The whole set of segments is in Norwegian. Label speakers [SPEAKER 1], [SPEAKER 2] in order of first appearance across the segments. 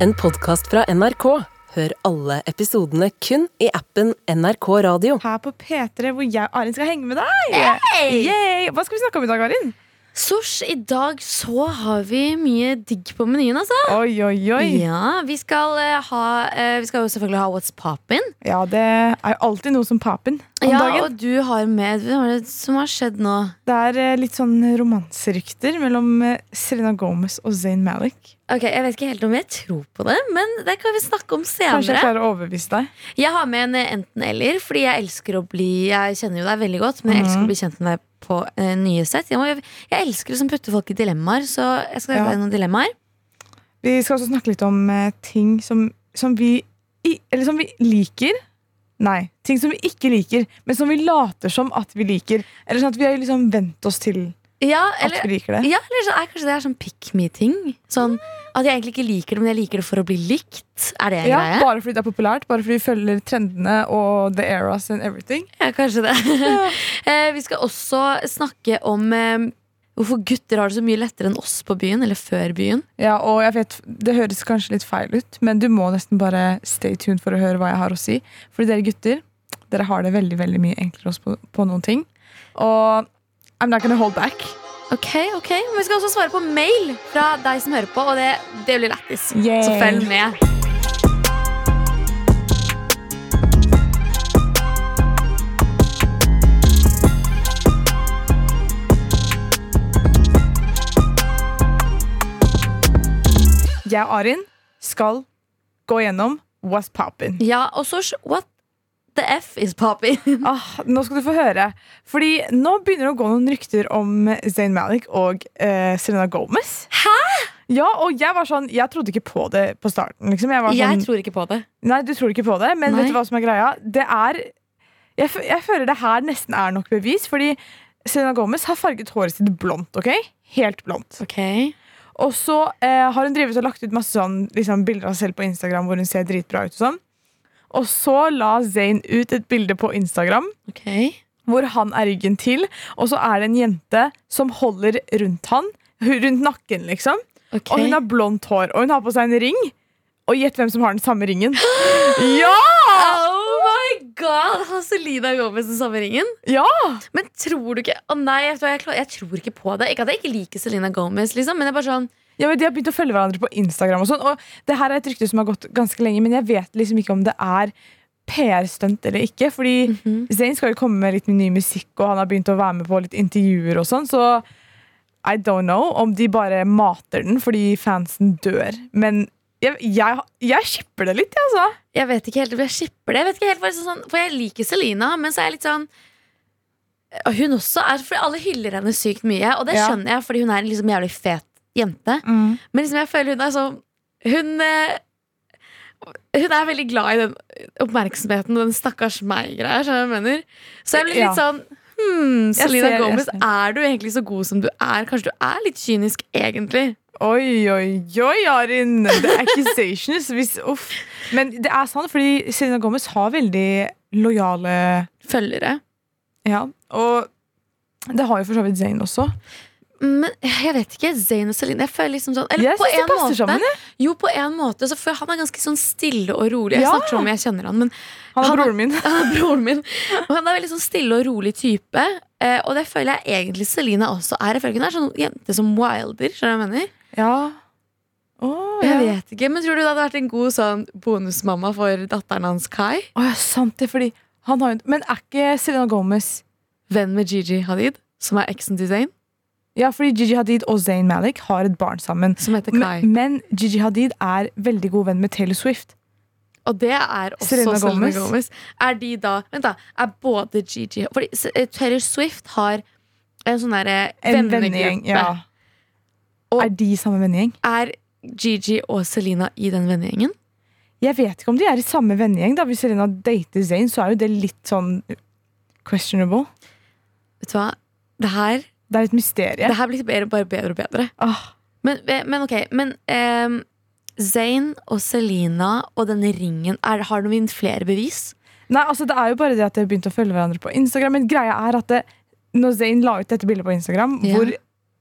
[SPEAKER 1] en podkast fra NRK. Hør alle episodene kun i appen NRK Radio.
[SPEAKER 2] her på P3, hvor jeg og Arin skal henge med deg. Yay! Hva skal vi snakke om i dag, Arin?
[SPEAKER 3] Sosh, i dag så har vi mye digg på menyen, altså.
[SPEAKER 2] Oi, oi, oi.
[SPEAKER 3] Ja, vi skal, eh, ha, eh, vi skal jo selvfølgelig ha What's Poppin'.
[SPEAKER 2] Ja, det er jo alltid noe som papen om
[SPEAKER 3] Ja,
[SPEAKER 2] dagen.
[SPEAKER 3] og du har med Hva er det som har skjedd nå?
[SPEAKER 2] Det er eh, litt sånn romanserykter mellom eh, Selena Gomez og Zayn Malik.
[SPEAKER 3] Ok, Jeg vet ikke helt om jeg tror på det, men det kan vi snakke om
[SPEAKER 2] Kanskje jeg
[SPEAKER 3] senere.
[SPEAKER 2] klarer å overbevise deg.
[SPEAKER 3] Jeg har med en eh, enten-eller, fordi jeg elsker å bli Jeg kjenner jo deg veldig godt, men jeg
[SPEAKER 2] Mhm.
[SPEAKER 3] elsker å bli kjent med deg på eh, nye sett. Jeg, må, jeg elsker å som putte folk i dilemmaer, så jeg skal
[SPEAKER 2] Ja.
[SPEAKER 3] ha noen dilemmaer.
[SPEAKER 2] Vi skal også snakke litt om eh, ting som, som vi i, Eller som vi liker. Nei, ting som vi ikke liker, men som vi later som at vi liker. Eller sånn at vi har liksom vent oss til
[SPEAKER 3] Ja,
[SPEAKER 2] at
[SPEAKER 3] eller,
[SPEAKER 2] vi liker det.
[SPEAKER 3] ja, eller så er kanskje det er sånn pick me-ting. Sånn at jeg egentlig ikke liker det, men jeg liker det for å bli likt. Er det en
[SPEAKER 2] Ja,
[SPEAKER 3] greie?
[SPEAKER 2] bare fordi det er populært, bare fordi vi følger trendene og the eras and everything.
[SPEAKER 3] Ja, kanskje det. Eh, Vi skal også snakke om eh, hvorfor gutter har det så mye lettere enn oss på byen, eller før byen.
[SPEAKER 2] Ja, og jeg vet, Det høres kanskje litt feil ut, men du må nesten bare stay tuned for å høre hva jeg har å si. Fordi dere gutter dere har det veldig veldig mye enklere oss på, på noen ting. Og I'm not gonna hold back.
[SPEAKER 3] Ok, ok. Men vi skal også svare på mail fra deg som hører på, og det, det blir lættis.
[SPEAKER 2] Yay.
[SPEAKER 3] Så følg med.
[SPEAKER 2] Jeg og Arin skal gå gjennom What's Poppin'.
[SPEAKER 3] Ja, og så s- What the F is poppy?
[SPEAKER 2] Ah, nå skal du få høre. Fordi nå begynner det å gå noen rykter om Zayn Malik og eh, Selena Gomez. Hæ? Ja, og jeg var sånn, jeg trodde ikke på det på starten. Liksom. Jeg var sånn,
[SPEAKER 3] Jeg tror ikke på det.
[SPEAKER 2] Nei, du tror ikke på det, men
[SPEAKER 3] Nei.
[SPEAKER 2] vet du hva som er greia? Det er jeg, fø- jeg føler det her nesten er nok bevis, fordi Selena Gomez har farget håret sitt blondt. ok? Helt blondt.
[SPEAKER 3] Ok.
[SPEAKER 2] Og så eh, har hun drevet og lagt ut masse sånn, liksom, bilder av seg selv på Instagram hvor hun ser dritbra ut. Og sånn. Og så la Zayn ut et bilde på Instagram
[SPEAKER 3] Ok.
[SPEAKER 2] hvor han er ryggen til, og så er det en jente som holder rundt han, rundt nakken, liksom.
[SPEAKER 3] ok.
[SPEAKER 2] Og hun har blondt hår, og hun har på seg en ring. Og gjett hvem som har den samme ringen. Ja!
[SPEAKER 3] Oh my god! Har Selena Gomez den samme ringen?
[SPEAKER 2] Ja!
[SPEAKER 3] Men tror du ikke Å nei, vet du hva, jeg, klar, jeg tror ikke på det. Ikke at jeg ikke liker Selena Gomez, liksom, men det er bare sånn
[SPEAKER 2] Ja, men De har begynt å følge hverandre på Instagram. og sånn, og det her er et rykte som har gått ganske lenge, men jeg vet liksom ikke om det er PR-stunt eller ikke. fordi Zayn skal jo komme med litt ny musikk, og han har begynt å være med på litt intervjuer. og sånn, Så I don't know om de bare mater den fordi fansen dør. Men jeg, jeg, jeg shipper det litt, jeg, altså.
[SPEAKER 3] Jeg vet ikke helt, jeg skipper det. Jeg vet ikke helt, for, det er sånn, for jeg liker Selena, men så er jeg litt sånn og Hun også er, for Alle hyller henne sykt mye, og det
[SPEAKER 2] Ja.
[SPEAKER 3] skjønner jeg, fordi hun er en liksom jævlig fet jente. Men liksom jeg føler hun er sånn Hun eh, Hun er veldig glad i den oppmerksomheten og den stakkars meg-greia. skjønner du hva jeg mener? Så jeg blir litt
[SPEAKER 2] Ja.
[SPEAKER 3] sånn hmm,
[SPEAKER 2] Jeg
[SPEAKER 3] Selena
[SPEAKER 2] ser- jeg
[SPEAKER 3] Gomez,
[SPEAKER 2] ser.
[SPEAKER 3] er du egentlig så god som du er? Kanskje du er litt kynisk, egentlig?
[SPEAKER 2] Oi, oi, oi, Arin! The accusations. Hvis, uff. Men det er sant, fordi Selena Gomez har veldig lojale
[SPEAKER 3] Følgere.
[SPEAKER 2] Ja, og det har jo for så vidt Zayn også.
[SPEAKER 3] Men jeg vet ikke. Zayn og Celine. Jeg føler liksom sånn eller
[SPEAKER 2] Jeg
[SPEAKER 3] på
[SPEAKER 2] synes det
[SPEAKER 3] en
[SPEAKER 2] passer
[SPEAKER 3] måte,
[SPEAKER 2] sammen,
[SPEAKER 3] Jo, på en måte. Så for han er ganske sånn stille og rolig. Jeg
[SPEAKER 2] Ja.
[SPEAKER 3] snakker som om jeg kjenner han, men
[SPEAKER 2] Han er
[SPEAKER 3] Han er-
[SPEAKER 2] broren min.
[SPEAKER 3] han er broren min. Og han er veldig sånn stille og rolig type. Eh, og det føler jeg egentlig Celine også er. Jeg føler ikke hun er sånn jente som wilder. Skjønner du hva jeg mener?
[SPEAKER 2] Ja. Å,
[SPEAKER 3] Jeg
[SPEAKER 2] ja.
[SPEAKER 3] vet ikke, men tror du det hadde vært en god sånn bonusmamma for datteren hans Kai?
[SPEAKER 2] Å, ja, sant det, fordi han har jo Men er ikke Selena Gomez
[SPEAKER 3] Venn med Gigi Hadid, som er eksen til Zayn,
[SPEAKER 2] Ja, fordi Gigi Hadid og Zayn Malik har et barn sammen.
[SPEAKER 3] som heter Kai.
[SPEAKER 2] Men, men Gigi Hadid er veldig god venn med Taylor Swift.
[SPEAKER 3] og det er også
[SPEAKER 2] Selena
[SPEAKER 3] Selena,
[SPEAKER 2] Gomez.
[SPEAKER 3] Gomez. Er de da Vent, da. Er både Gigi Fordi S- eh, Taylor Swift har en sånn derre
[SPEAKER 2] En
[SPEAKER 3] vennegjeng.
[SPEAKER 2] vennegjeng. Ja.
[SPEAKER 3] Og-
[SPEAKER 2] er de samme vennegjeng?
[SPEAKER 3] Er Gigi og Selena i den vennegjengen?
[SPEAKER 2] Jeg vet ikke om de er i samme vennegjeng. da Hvis Selena dater Zayn, så er jo det litt sånn questionable.
[SPEAKER 3] Vet du hva? Det her,
[SPEAKER 2] Det er et mysterium. Ah.
[SPEAKER 3] det her blir bedre, bare bedre og bedre.
[SPEAKER 2] Åh,
[SPEAKER 3] Men, eh, men ok, men ehm, Zayn og Selena og denne ringen, er, har du flere bevis?
[SPEAKER 2] Nei, altså Det er jo bare det at de har begynt å følge hverandre på Instagram. Men greia er at det, når Zayn la ut dette bildet på Instagram,
[SPEAKER 3] Ja.
[SPEAKER 2] hvor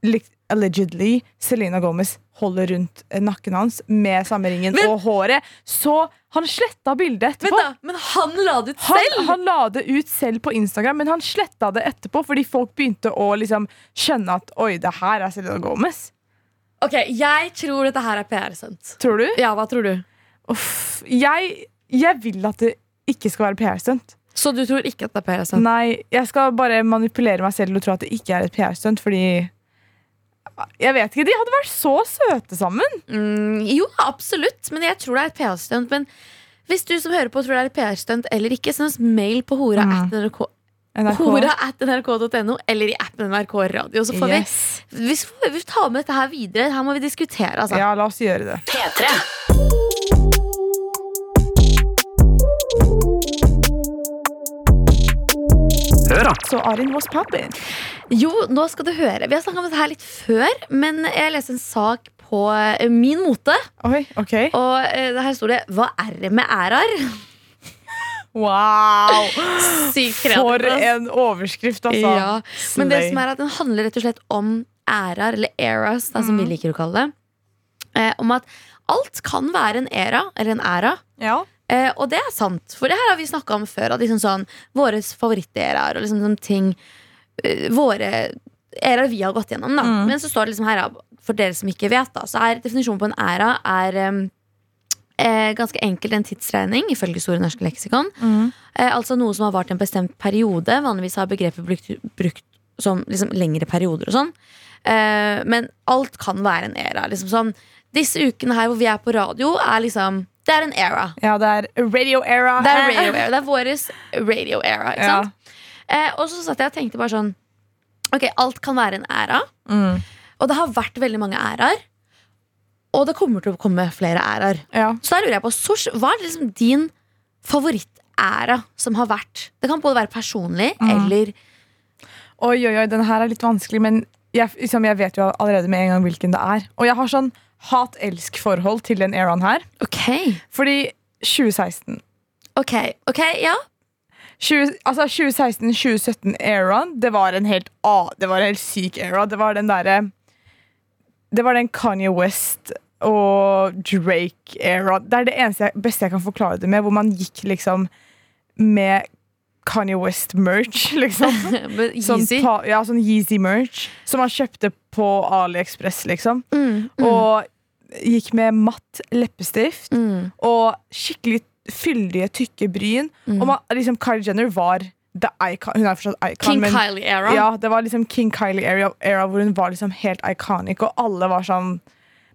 [SPEAKER 2] lik- allegedly Selena Gomez holder rundt eh, nakken hans med samme ringen
[SPEAKER 3] Men-
[SPEAKER 2] og håret. Så han sletta bildet
[SPEAKER 3] Vent
[SPEAKER 2] etterpå.
[SPEAKER 3] da, men han la det ut selv!
[SPEAKER 2] Han, han la det ut selv på Instagram, men han sletta det etterpå fordi folk begynte å liksom skjønne at oi, det her er Selena Gomez.
[SPEAKER 3] Ok, Jeg tror dette her er PR-stunt.
[SPEAKER 2] Tror du?
[SPEAKER 3] Ja, hva tror du?
[SPEAKER 2] Uff, jeg, jeg vil at det ikke skal være PR-stunt.
[SPEAKER 3] Så du tror ikke at det er PR-stunt?
[SPEAKER 2] Nei, jeg skal bare manipulere meg selv og tro at det ikke er et PR-stunt, fordi Jeg vet ikke. De hadde vært så søte sammen.
[SPEAKER 3] Mm, jo, absolutt, men jeg tror det er et PR-stunt. Men hvis du som hører på tror det er et PR-stunt eller ikke, send oss mail på hora
[SPEAKER 2] Mm.
[SPEAKER 3] at nrk
[SPEAKER 2] NRK.
[SPEAKER 3] hora at nrk.no eller i appen NRK Radio. Så får
[SPEAKER 2] Yes.
[SPEAKER 3] vi, vi, får, vi tar med dette her videre. Her må vi diskutere, altså.
[SPEAKER 2] Ja, la oss gjøre det.
[SPEAKER 1] P3.
[SPEAKER 4] Hør da!
[SPEAKER 2] Så Arin was poppin'.
[SPEAKER 3] Jo, nå skal du høre. Vi har snakka om dette her litt før, men jeg leste en sak på eh, Min Mote,
[SPEAKER 2] Oi, OK.
[SPEAKER 3] og eh, her sto det 'Hva er det med ærar?'
[SPEAKER 2] Wow!
[SPEAKER 3] Sykt
[SPEAKER 2] For
[SPEAKER 3] ass.
[SPEAKER 2] en overskrift, altså.
[SPEAKER 3] Ja, Men det
[SPEAKER 2] Slay.
[SPEAKER 3] som er at den handler rett og slett om ærar, eller eras, da,
[SPEAKER 2] Mhm.
[SPEAKER 3] som vi liker å kalle det. Eh, om at alt kan være en era, eller en æra.
[SPEAKER 2] Ja.
[SPEAKER 3] Eh, og det er sant, for det her har vi snakka om før. At liksom sånn, våre favoritteraer og liksom sånn ting eh, Våre æraer vi har gått gjennom. Da.
[SPEAKER 2] Mm.
[SPEAKER 3] Men så står det liksom her, ja, for dere som ikke vet, da, så er definisjonen på en æra er em, eh, ganske enkelt en tidsregning, ifølge Store norske leksikon.
[SPEAKER 2] Mm.
[SPEAKER 3] Eh, altså noe som har vart en bestemt periode. Vanligvis har begrepet brukt, brukt som liksom lengre perioder og sånn. Eh, men alt kan være en æra. Liksom sånn, disse ukene her hvor vi er på radio, er liksom Det er en æra.
[SPEAKER 2] ja, det er radio era.
[SPEAKER 3] Det er radio era. Det er våres radio era. Ikke
[SPEAKER 2] Eh, Ja.
[SPEAKER 3] sant? Eh, og så satt jeg og tenkte bare sånn Ok, alt kan være en æra.
[SPEAKER 2] Mm.
[SPEAKER 3] Og det har vært veldig mange æraer. Og det kommer til å komme flere æraer.
[SPEAKER 2] Ja.
[SPEAKER 3] Så da lurer jeg på, Sosh, hva er liksom din favorittæra som har vært? Det kan både være personlig
[SPEAKER 2] Mm.
[SPEAKER 3] eller
[SPEAKER 2] Oi, oi, oi, den her er litt vanskelig, men jeg, liksom, jeg vet jo allerede med en gang hvilken det er. Og jeg har sånn hat-elsk-forhold til den eraen her.
[SPEAKER 3] Ok,
[SPEAKER 2] Fordi 2016
[SPEAKER 3] ok, ok, ja.
[SPEAKER 2] 20, altså 2016-2017-eraen, det var en helt ah, Det var en helt syk era. Det var den derre Det var den Kanye West og Drake-era. Det er det eneste jeg, beste jeg kan forklare det med, hvor man gikk liksom med Kanye West-merch, liksom.
[SPEAKER 3] Men
[SPEAKER 2] Sånn,
[SPEAKER 3] Yeezy.
[SPEAKER 2] pa, ja, sånn Yeezy-merch. Som man kjøpte på AliExpress, liksom.
[SPEAKER 3] Mm, mm,
[SPEAKER 2] Og gikk med matt leppestift
[SPEAKER 3] mm,
[SPEAKER 2] og skikkelig fyldige, tykke bryn.
[SPEAKER 3] Mm.
[SPEAKER 2] Og man, liksom Kylie Jenner var the icon. Hun er fortsatt icon.
[SPEAKER 3] King
[SPEAKER 2] men-
[SPEAKER 3] Kylie-æra.
[SPEAKER 2] Ja, det var liksom King Kylie era, era hvor hun var liksom helt iconic, og alle var sånn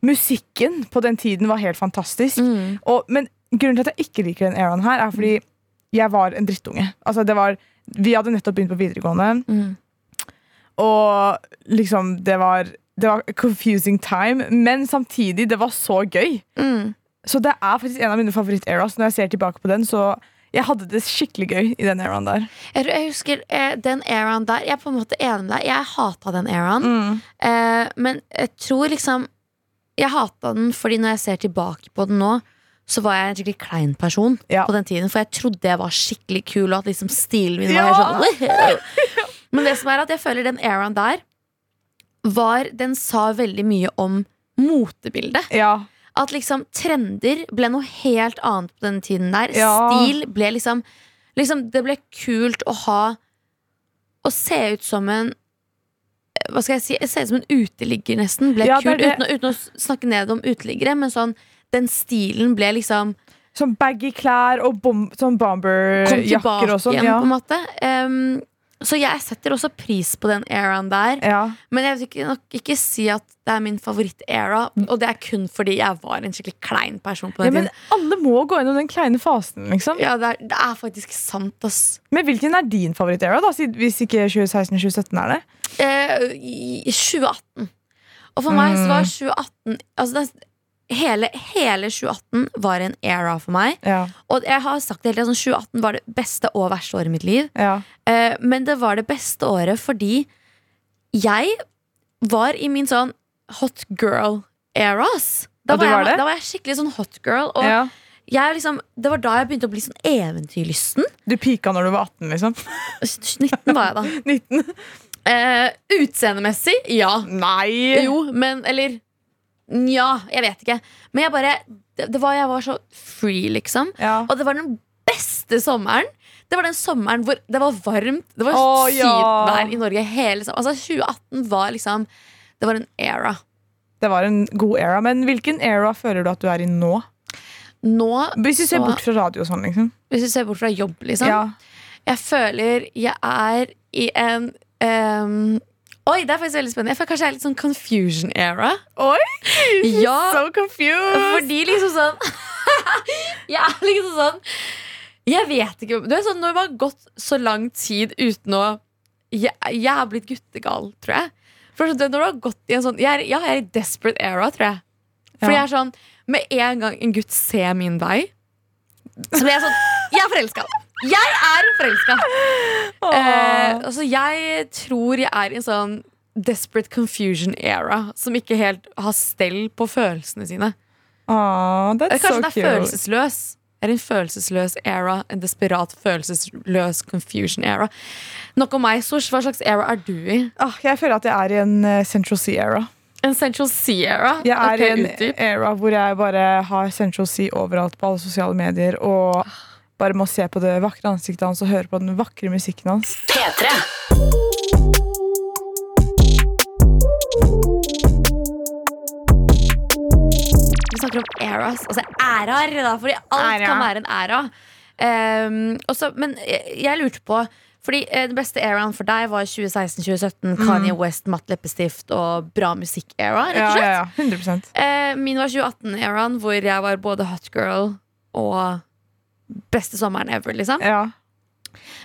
[SPEAKER 2] Musikken på den tiden var helt fantastisk.
[SPEAKER 3] Mm.
[SPEAKER 2] Og, men grunnen til at jeg ikke liker den eraen her, er fordi jeg var en drittunge. Altså, det var, vi hadde nettopp begynt på videregående,
[SPEAKER 3] Mm.
[SPEAKER 2] og liksom Det var, det var a confusing time, men samtidig, det var så gøy.
[SPEAKER 3] Mm.
[SPEAKER 2] Så det er faktisk en av mine favoritt-eras. Når jeg ser tilbake på den, så jeg hadde det skikkelig gøy i den eraen der.
[SPEAKER 3] Jeg, tror- jeg husker eh, den æraen der. Jeg er på en måte enig med deg. Jeg hata den æraen.
[SPEAKER 2] Mm.
[SPEAKER 3] Eh, men jeg tror liksom Jeg hata den fordi når jeg ser tilbake på den nå, så var jeg en skikkelig klein person
[SPEAKER 2] Ja.
[SPEAKER 3] på den tiden. For jeg trodde jeg var skikkelig kul, og at liksom stilen min var
[SPEAKER 2] Ja.
[SPEAKER 3] helt sånn Men det som er at jeg føler den eraen der var Den sa veldig mye om motebildet.
[SPEAKER 2] Ja.
[SPEAKER 3] At liksom trender ble noe helt annet på den tiden der.
[SPEAKER 2] Ja.
[SPEAKER 3] Stil ble liksom, liksom Det ble kult å ha Å se ut som en Hva skal jeg si? Se ut som en uteligger, nesten. Ble
[SPEAKER 2] Ja, det er
[SPEAKER 3] kult.
[SPEAKER 2] det.
[SPEAKER 3] Uten, å- uten å s- snakke ned om uteliggere, men sånn den stilen ble liksom
[SPEAKER 2] Sånn baggy klær og bom, sånn
[SPEAKER 3] Kom tilbake
[SPEAKER 2] bomberjakker og sånn.
[SPEAKER 3] igjen,
[SPEAKER 2] Ja.
[SPEAKER 3] på en måte. Em, så jeg setter også pris på den eraen der.
[SPEAKER 2] Ja.
[SPEAKER 3] Men jeg vil ikke, nok ikke si at det er min favoritt-era. Og det er kun fordi jeg var en skikkelig klein person på
[SPEAKER 2] ja,
[SPEAKER 3] den
[SPEAKER 2] Men
[SPEAKER 3] tiden.
[SPEAKER 2] alle må gå gjennom den kleine fasen, liksom.
[SPEAKER 3] Ja, det er, det er faktisk sant, ass.
[SPEAKER 2] Men hvilken er din favoritt-era, da? siden- Hvis ikke 2016-2017 er det?
[SPEAKER 3] eh, i 2018. Og for meg så var
[SPEAKER 2] Mm.
[SPEAKER 3] 2018 altså det, hele, hele 2018 var en era for meg.
[SPEAKER 2] Ja.
[SPEAKER 3] Og jeg har sagt det hele tiden, sånn 2018 var det beste og verste året i mitt liv.
[SPEAKER 2] ja.
[SPEAKER 3] Eh, men det var det beste året fordi jeg var i min sånn hot girl era. ass. Da,
[SPEAKER 2] Og du
[SPEAKER 3] var
[SPEAKER 2] var
[SPEAKER 3] jeg,
[SPEAKER 2] det?
[SPEAKER 3] da var jeg skikkelig sånn hot girl. Og
[SPEAKER 2] ja.
[SPEAKER 3] jeg liksom, det var da jeg begynte å bli sånn eventyrlysten.
[SPEAKER 2] Du pika når du var 18, liksom.
[SPEAKER 3] 19 var jeg da.
[SPEAKER 2] 19.
[SPEAKER 3] Eh, utseendemessig, ja.
[SPEAKER 2] Nei!
[SPEAKER 3] Jo, men Eller nja, jeg vet ikke. Men jeg bare det, det var, Jeg var så free, liksom.
[SPEAKER 2] Ja.
[SPEAKER 3] Og det var den beste sommeren. Det var den sommeren hvor det var varmt. Det var
[SPEAKER 2] Å, ja.
[SPEAKER 3] sydvær i Norge hele sommeren. Altså 2018 var liksom Det var en era.
[SPEAKER 2] Det var en god era, men hvilken era føler du at du er i nå?
[SPEAKER 3] Nå,
[SPEAKER 2] Hvis du ser
[SPEAKER 3] Så-
[SPEAKER 2] bort fra radio og sånn, liksom.
[SPEAKER 3] hvis du ser bort fra jobb, liksom
[SPEAKER 2] Ja.
[SPEAKER 3] Jeg føler jeg er i en ehm, Oi, det er faktisk veldig spennende. Jeg føler kanskje jeg er litt sånn confusion era.
[SPEAKER 2] Oi!
[SPEAKER 3] Ja,
[SPEAKER 2] So confused!
[SPEAKER 3] fordi liksom sånn Jeg er liksom sånn Jeg vet ikke Du er sånn når man har gått så lang tid uten å Jeg, jeg er blitt guttegal, tror jeg. For sånn, når du har gått i en sånn jeg er, Ja, jeg er i desperate era, tror jeg. Fordi
[SPEAKER 2] Ja.
[SPEAKER 3] jeg er sånn Med en gang en gutt ser min vei, så blir jeg sånn Jeg er forelska! Jeg er forelska!
[SPEAKER 2] Åh.
[SPEAKER 3] Eh, altså, jeg tror jeg er i en sånn desperate confusion era som ikke helt har stell på følelsene sine.
[SPEAKER 2] Åh,
[SPEAKER 3] Eller
[SPEAKER 2] that's so
[SPEAKER 3] kanskje
[SPEAKER 2] cute.
[SPEAKER 3] det er følelsesløs. Er en følelsesløs era. En desperat følelsesløs confusion era. Nok om meg, Sosh. Hva slags era er du i?
[SPEAKER 2] Ah, jeg føler at jeg er i en eh, Central Sea-era.
[SPEAKER 3] En Central Sea-era?
[SPEAKER 2] Jeg er
[SPEAKER 3] Ok,
[SPEAKER 2] i en
[SPEAKER 3] utdyp.
[SPEAKER 2] era hvor jeg bare har Central Sea overalt på alle sosiale medier og
[SPEAKER 3] Ah.
[SPEAKER 2] bare må se på det vakre ansiktet hans og høre på den vakre musikken hans.
[SPEAKER 1] P3.
[SPEAKER 3] Vi snakker om eras, altså æraer, da, fordi alt
[SPEAKER 2] Æra.
[SPEAKER 3] kan være en æra. Ehm, og så- men jeg, jeg lurte på Fordi eh, den beste eraen for deg var 2016-2017. Kanye West, matt leppestift og bra musikk-era.
[SPEAKER 2] Mm.
[SPEAKER 3] rett
[SPEAKER 2] Ja,
[SPEAKER 3] og slett.
[SPEAKER 2] ja, ja, 100
[SPEAKER 3] Eh, min var 2018-eraen, hvor jeg var både hot girl og beste sommeren ever. liksom
[SPEAKER 2] ja.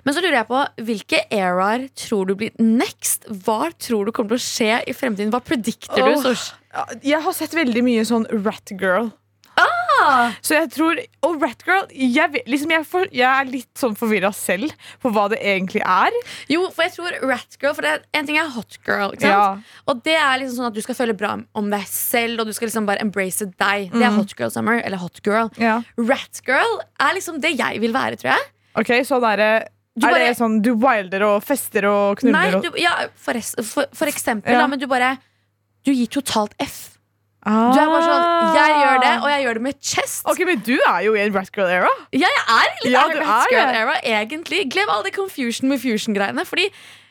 [SPEAKER 3] Men så lurer jeg på, hvilke eraer tror du blir next? Hva tror du kommer til å skje i fremtiden? Hva predikter
[SPEAKER 2] Åh.
[SPEAKER 3] du? Sosh?
[SPEAKER 2] Ja, Jeg har sett veldig mye sånn Rat Girl.
[SPEAKER 3] Ah!
[SPEAKER 2] Så jeg tror, Og Rat Girl Jeg, vet- liksom jeg, for, jeg er litt sånn forvirra selv på hva det egentlig er.
[SPEAKER 3] Jo, for jeg tror rat girl For det er en ting er hot girl. Ikke sant?
[SPEAKER 2] Ja.
[SPEAKER 3] Og det er liksom sånn at du skal føle bra om deg selv, og du skal liksom bare embrace deg. Det
[SPEAKER 2] Mhm.
[SPEAKER 3] er hot girl summer, eller hot girl.
[SPEAKER 2] Ja.
[SPEAKER 3] Rat girl er liksom det jeg vil være, tror jeg.
[SPEAKER 2] Ok, så det er,
[SPEAKER 3] Du
[SPEAKER 2] er
[SPEAKER 3] bare-
[SPEAKER 2] det sånn du wilder og fester og
[SPEAKER 3] Nei,
[SPEAKER 2] knuller og
[SPEAKER 3] du, ja, for, res- for, for eksempel,
[SPEAKER 2] Ja.
[SPEAKER 3] da, men du bare Du gir totalt F. Du er bare sånn Jeg gjør det, og jeg gjør det med chest.
[SPEAKER 2] Ah. Ok, men du er jo i en Rat Girl-era.
[SPEAKER 3] Ja, jeg er i litt
[SPEAKER 2] Ja,
[SPEAKER 3] Arab
[SPEAKER 2] du
[SPEAKER 3] Rats
[SPEAKER 2] er
[SPEAKER 3] Girl
[SPEAKER 2] det.
[SPEAKER 3] Era, egentlig. Glem all det confusion med fusion-greiene. Fordi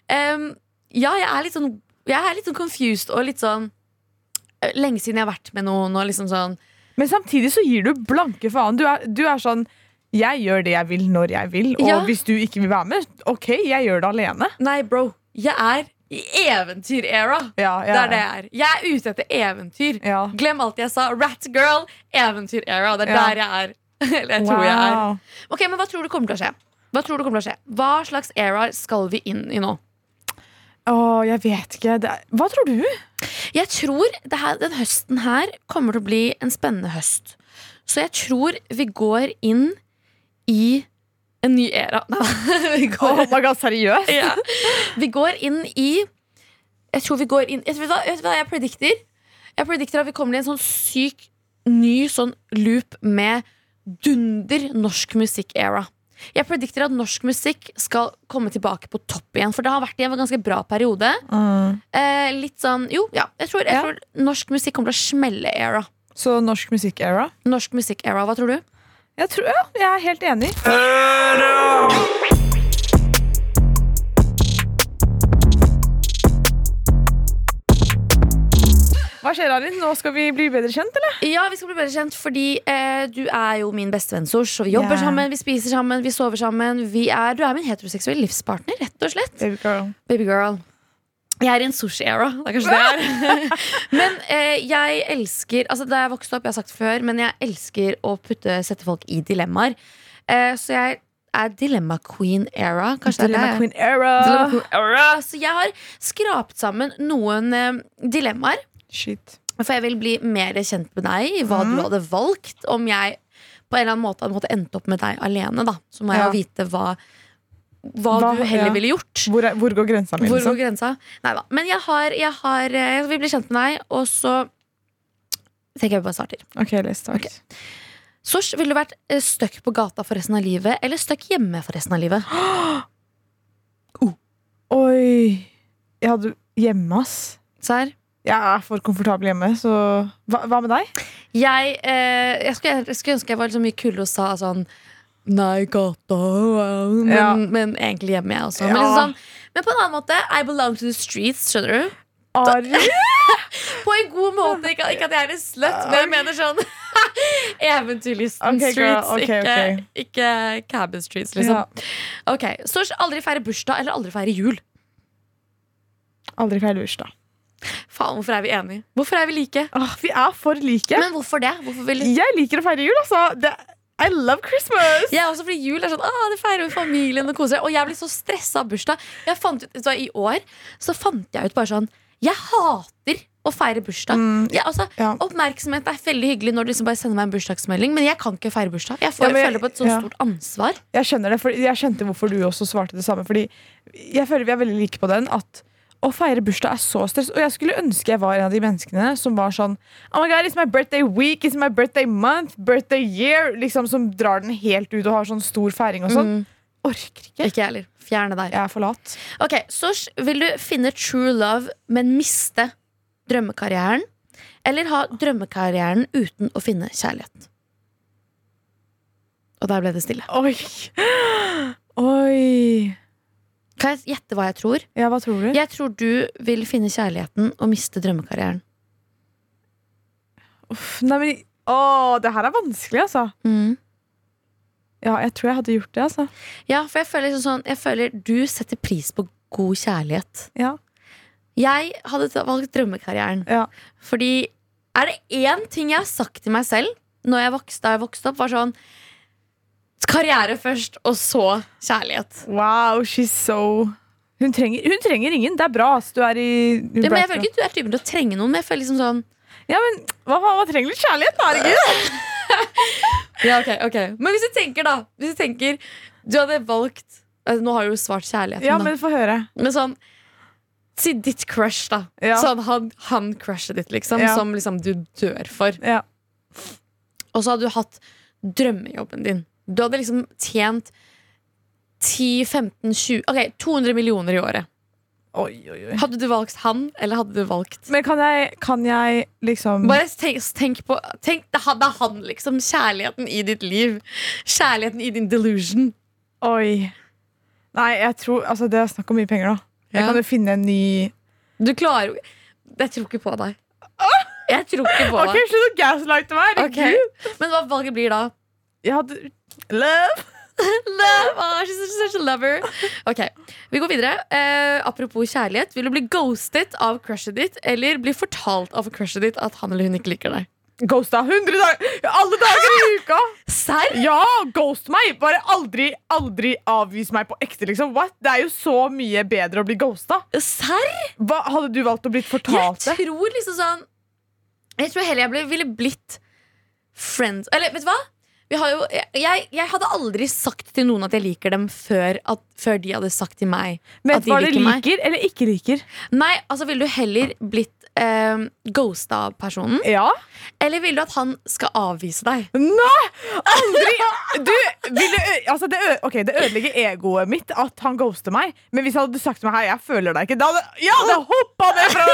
[SPEAKER 3] ehm, ja, jeg er litt sånn Jeg er litt sånn confused og litt sånn eh, Lenge siden jeg har vært med noen og liksom sånn
[SPEAKER 2] Men samtidig så gir du blanke faen. Du er, du er sånn jeg gjør det jeg vil, når jeg vil. Og
[SPEAKER 3] Ja.
[SPEAKER 2] hvis du ikke vil være med, OK, jeg gjør det alene.
[SPEAKER 3] Nei, bro. Jeg er i eventyr-era.
[SPEAKER 2] Ja,
[SPEAKER 3] Det
[SPEAKER 2] jeg,
[SPEAKER 3] er det jeg er. Jeg er ute etter eventyr.
[SPEAKER 2] Ja.
[SPEAKER 3] Glem alt jeg sa. Rat girl, eventyr-era. Det er
[SPEAKER 2] Ja.
[SPEAKER 3] der jeg er. Eller jeg tror jeg er.
[SPEAKER 2] Wow.
[SPEAKER 3] Ok, men Hva tror du kommer til å skje? Hva tror du kommer til å skje? Hva slags era skal vi inn i nå?
[SPEAKER 2] Åh, jeg vet ikke. Det er, hva tror du?
[SPEAKER 3] Jeg tror det her, den høsten her kommer til å bli en spennende høst. Så jeg tror vi går inn i en ny era. Nei, vi går,
[SPEAKER 2] Oh my god, seriøst?
[SPEAKER 3] ja. vi går inn i Jeg tror vi går inn Vet du hva, vet du hva jeg predikter? Jeg predikter at vi kommer til en sånn syk ny sånn loop med dunder norsk musikk-era. Jeg predikter at norsk musikk skal komme tilbake på topp igjen. For det har vært i en ganske bra periode.
[SPEAKER 2] Mm.
[SPEAKER 3] Eh, litt sånn Jo, ja. Jeg tror, jeg
[SPEAKER 2] Ja.
[SPEAKER 3] tror norsk musikk kommer til å smelle era.
[SPEAKER 2] Så norsk musikk-era?
[SPEAKER 3] Norsk musikk-era, hva tror du?
[SPEAKER 2] Jeg tror, ja, jeg er helt enig. Hva skjer, Arin? Nå skal vi bli bedre kjent, eller?
[SPEAKER 3] Ja, vi skal bli bedre kjent, fordi eh, du er jo min bestevenn, Sosh. Og vi jobber
[SPEAKER 2] Ja.
[SPEAKER 3] sammen, vi spiser sammen, vi sover sammen. Vi er, du er min heteroseksuelle livspartner, rett og slett.
[SPEAKER 2] Baby girl.
[SPEAKER 3] Babygirl. Jeg er i en sushi-era. Det er kanskje det jeg er. men eh, jeg elsker Altså Da jeg vokste opp, jeg har sagt det før, men jeg elsker å putte, sette folk i dilemmaer. Eh, så jeg er dilemma queen-era. Kanskje det er det
[SPEAKER 2] Dilemma
[SPEAKER 3] jeg er.
[SPEAKER 2] Queen era.
[SPEAKER 3] Dilemma Queen era. Så jeg har skrapt sammen noen eh, dilemmaer.
[SPEAKER 2] Shit.
[SPEAKER 3] For jeg vil bli mer kjent med deg, hva du
[SPEAKER 2] Mhm.
[SPEAKER 3] hadde valgt. Om jeg på en eller annen måte hadde måttet endt opp med deg alene, da. Så må jeg
[SPEAKER 2] Ja.
[SPEAKER 3] jo vite hva, hva,
[SPEAKER 2] Hva-
[SPEAKER 3] du heller
[SPEAKER 2] ja.
[SPEAKER 3] ville gjort.
[SPEAKER 2] Hvor, er, hvor går grensa mi?
[SPEAKER 3] Hvor går
[SPEAKER 2] Liksom?
[SPEAKER 3] grensa? Neida. Men jeg har, jeg har eh, Jeg vil bli kjent med deg, og så tenker jeg vi bare starter.
[SPEAKER 2] Ok, let's start.
[SPEAKER 3] Sosh, ville du vært eh, stuck på gata for resten av livet, eller stuck hjemme for resten av livet?
[SPEAKER 2] Oi. Jeg hadde hjemme, ass.
[SPEAKER 3] Serr?
[SPEAKER 2] Jeg er for komfortabel hjemme, så Hva, hva med deg?
[SPEAKER 3] Jeg, eh, jeg, skulle, jeg skulle ønske jeg var liksom mye kul og sa sånn Nei, gata wow», men,
[SPEAKER 2] Ja.
[SPEAKER 3] men egentlig hjemme, jeg også.
[SPEAKER 2] Ja.
[SPEAKER 3] Men, liksom sånn, men på en annen måte. I belong to the streets, skjønner du?
[SPEAKER 2] Ari?
[SPEAKER 3] På en god måte. Ikke, ikke at jeg er en slut, men jeg mener sånn Eventyrlysten
[SPEAKER 2] Ok, girl.
[SPEAKER 3] streets,
[SPEAKER 2] Ok, ok.
[SPEAKER 3] ikke, ikke cabin streets, liksom.
[SPEAKER 2] Ja.
[SPEAKER 3] Ok, Så aldri feire bursdag eller aldri feire jul.
[SPEAKER 2] Aldri feil bursdag.
[SPEAKER 3] Faen, hvorfor er vi enige? Hvorfor er vi like?
[SPEAKER 2] Åh, Vi er for like.
[SPEAKER 3] Men hvorfor det? Hvorfor vil
[SPEAKER 2] Jeg liker å feire jul, altså. Det, I love Christmas!
[SPEAKER 3] Jeg også, fordi jul er sånn, ah, det feirer vi familien og koser. Og jeg blir så stresset av bursdag. Jeg fant ut, vet du hva, I år så fant jeg ut bare sånn, jeg hater å feire bursdag.
[SPEAKER 2] Mm,
[SPEAKER 3] Jeg, altså,
[SPEAKER 2] ja.
[SPEAKER 3] Oppmerksomhet er veldig hyggelig når du liksom bare sender meg en bursdagsmelding, men jeg kan ikke feire bursdag. Jeg får
[SPEAKER 2] Ja, men-
[SPEAKER 3] føler på et så
[SPEAKER 2] ja.
[SPEAKER 3] stort ansvar.
[SPEAKER 2] Jeg skjønner det, for jeg skjønte hvorfor du også svarte det samme. Fordi jeg føler vi er veldig like på den. At å feire bursdag er så stress. Og jeg skulle ønske jeg var en av de menneskene som var sånn Oh my god, it's my birthday week, it's my birthday month, birthday year. Liksom Som drar den helt ut og har sånn stor feiring og sånn. Orker ikke.
[SPEAKER 3] Ikke jeg heller. Fjerne deg.
[SPEAKER 2] Jeg er for lat.
[SPEAKER 3] Ok, Så s- vil du finne true love, men miste drømmekarrieren? Eller ha drømmekarrieren uten å finne kjærlighet? Og der ble det stille.
[SPEAKER 2] Oi. Oi.
[SPEAKER 3] Kan jeg gjette hva jeg tror?
[SPEAKER 2] Ja, hva tror du?
[SPEAKER 3] Jeg tror du vil finne kjærligheten og miste drømmekarrieren.
[SPEAKER 2] Uff, nei, men Å, det her er vanskelig, altså. Ja, jeg tror jeg hadde gjort det, altså.
[SPEAKER 3] Ja, for jeg føler, liksom sånn, jeg føler du setter pris på god kjærlighet.
[SPEAKER 2] Ja.
[SPEAKER 3] Jeg hadde ta- valgt drømmekarrieren.
[SPEAKER 2] Ja.
[SPEAKER 3] Fordi er det én ting jeg har sagt til meg selv når jeg vokste, da jeg vokste opp, var sånn Karriere først, og så kjærlighet.
[SPEAKER 2] Wow, she's so Hun trenger, hun trenger ingen. Det er bra. ass. Du er i
[SPEAKER 3] Ja, men jeg føler ikke at du er typen til å trenge noen. Men jeg føler liksom sånn
[SPEAKER 2] Ja, men hva faen, man trenger litt kjærlighet, da, herregud!
[SPEAKER 3] Ja, ok, ok Men hvis du tenker, da Hvis du tenker Du hadde valgt eh, Nå har jeg jo svart kjærligheten,
[SPEAKER 2] Ja,
[SPEAKER 3] da.
[SPEAKER 2] men få høre.
[SPEAKER 3] Men sånn Si ditt crush, da.
[SPEAKER 2] Ja.
[SPEAKER 3] Sånn han, han crushet ditt, liksom.
[SPEAKER 2] Ja.
[SPEAKER 3] Som liksom du dør for.
[SPEAKER 2] Ja.
[SPEAKER 3] Og så hadde du hatt drømmejobben din. Du hadde liksom tjent 10-15-20 Ok, 200 millioner i året.
[SPEAKER 2] Oi, oi, oi.
[SPEAKER 3] Hadde du valgt han, eller hadde du valgt
[SPEAKER 2] Men kan jeg, kan jeg liksom
[SPEAKER 3] Bare tenk, tenk på tenk, det, er, det er han, liksom. Kjærligheten i ditt liv. Kjærligheten i din delusion.
[SPEAKER 2] Oi. Nei, jeg tror Altså, det er snakk om mye penger, da. Jeg
[SPEAKER 3] Ja.
[SPEAKER 2] kan jo finne en ny
[SPEAKER 3] Du klarer jo Jeg tror ikke på deg. Jeg tror ikke på
[SPEAKER 2] OK,
[SPEAKER 3] deg.
[SPEAKER 2] slutt å gaslighte meg!
[SPEAKER 3] Ok.
[SPEAKER 2] Herregud.
[SPEAKER 3] Men hva valget blir da?
[SPEAKER 2] Jeg hadde Love!
[SPEAKER 3] Love! Ah, she's such, such a lover. Ok, Vi går videre. Eh, apropos kjærlighet. Vil du bli ghostet av crushet ditt, eller bli fortalt av crushet ditt at han eller hun ikke liker deg?
[SPEAKER 2] Ghosta 100 dager Alle dager i uka!
[SPEAKER 3] Serr?
[SPEAKER 2] Ja, ghost meg! Bare aldri, aldri avvis meg på ekte, liksom. What? Det er jo så mye bedre å bli ghosta.
[SPEAKER 3] Serr?
[SPEAKER 2] Hva, hadde du valgt å bli
[SPEAKER 3] Jeg
[SPEAKER 2] fortalt det?
[SPEAKER 3] tror liksom sånn Jeg tror heller jeg ble, ville blitt friends Eller vet du hva? Vi har jo, jeg, jeg hadde aldri sagt til noen at jeg liker dem før, at, før de hadde sagt til meg at
[SPEAKER 2] Vet
[SPEAKER 3] de
[SPEAKER 2] hva du
[SPEAKER 3] liker meg.
[SPEAKER 2] liker eller ikke liker?
[SPEAKER 3] Nei, altså Ville du heller blitt eh, ghosta av personen,
[SPEAKER 2] Ja.
[SPEAKER 3] eller vil du at han skal avvise deg?
[SPEAKER 2] Nei! Aldri! Du, vil det, ø- altså det, ø- ok, det ødelegger egoet mitt at han ghoster meg. Men hvis han hadde sagt til meg Hei, jeg føler deg ikke, da hadde jeg hadde hoppa ned fra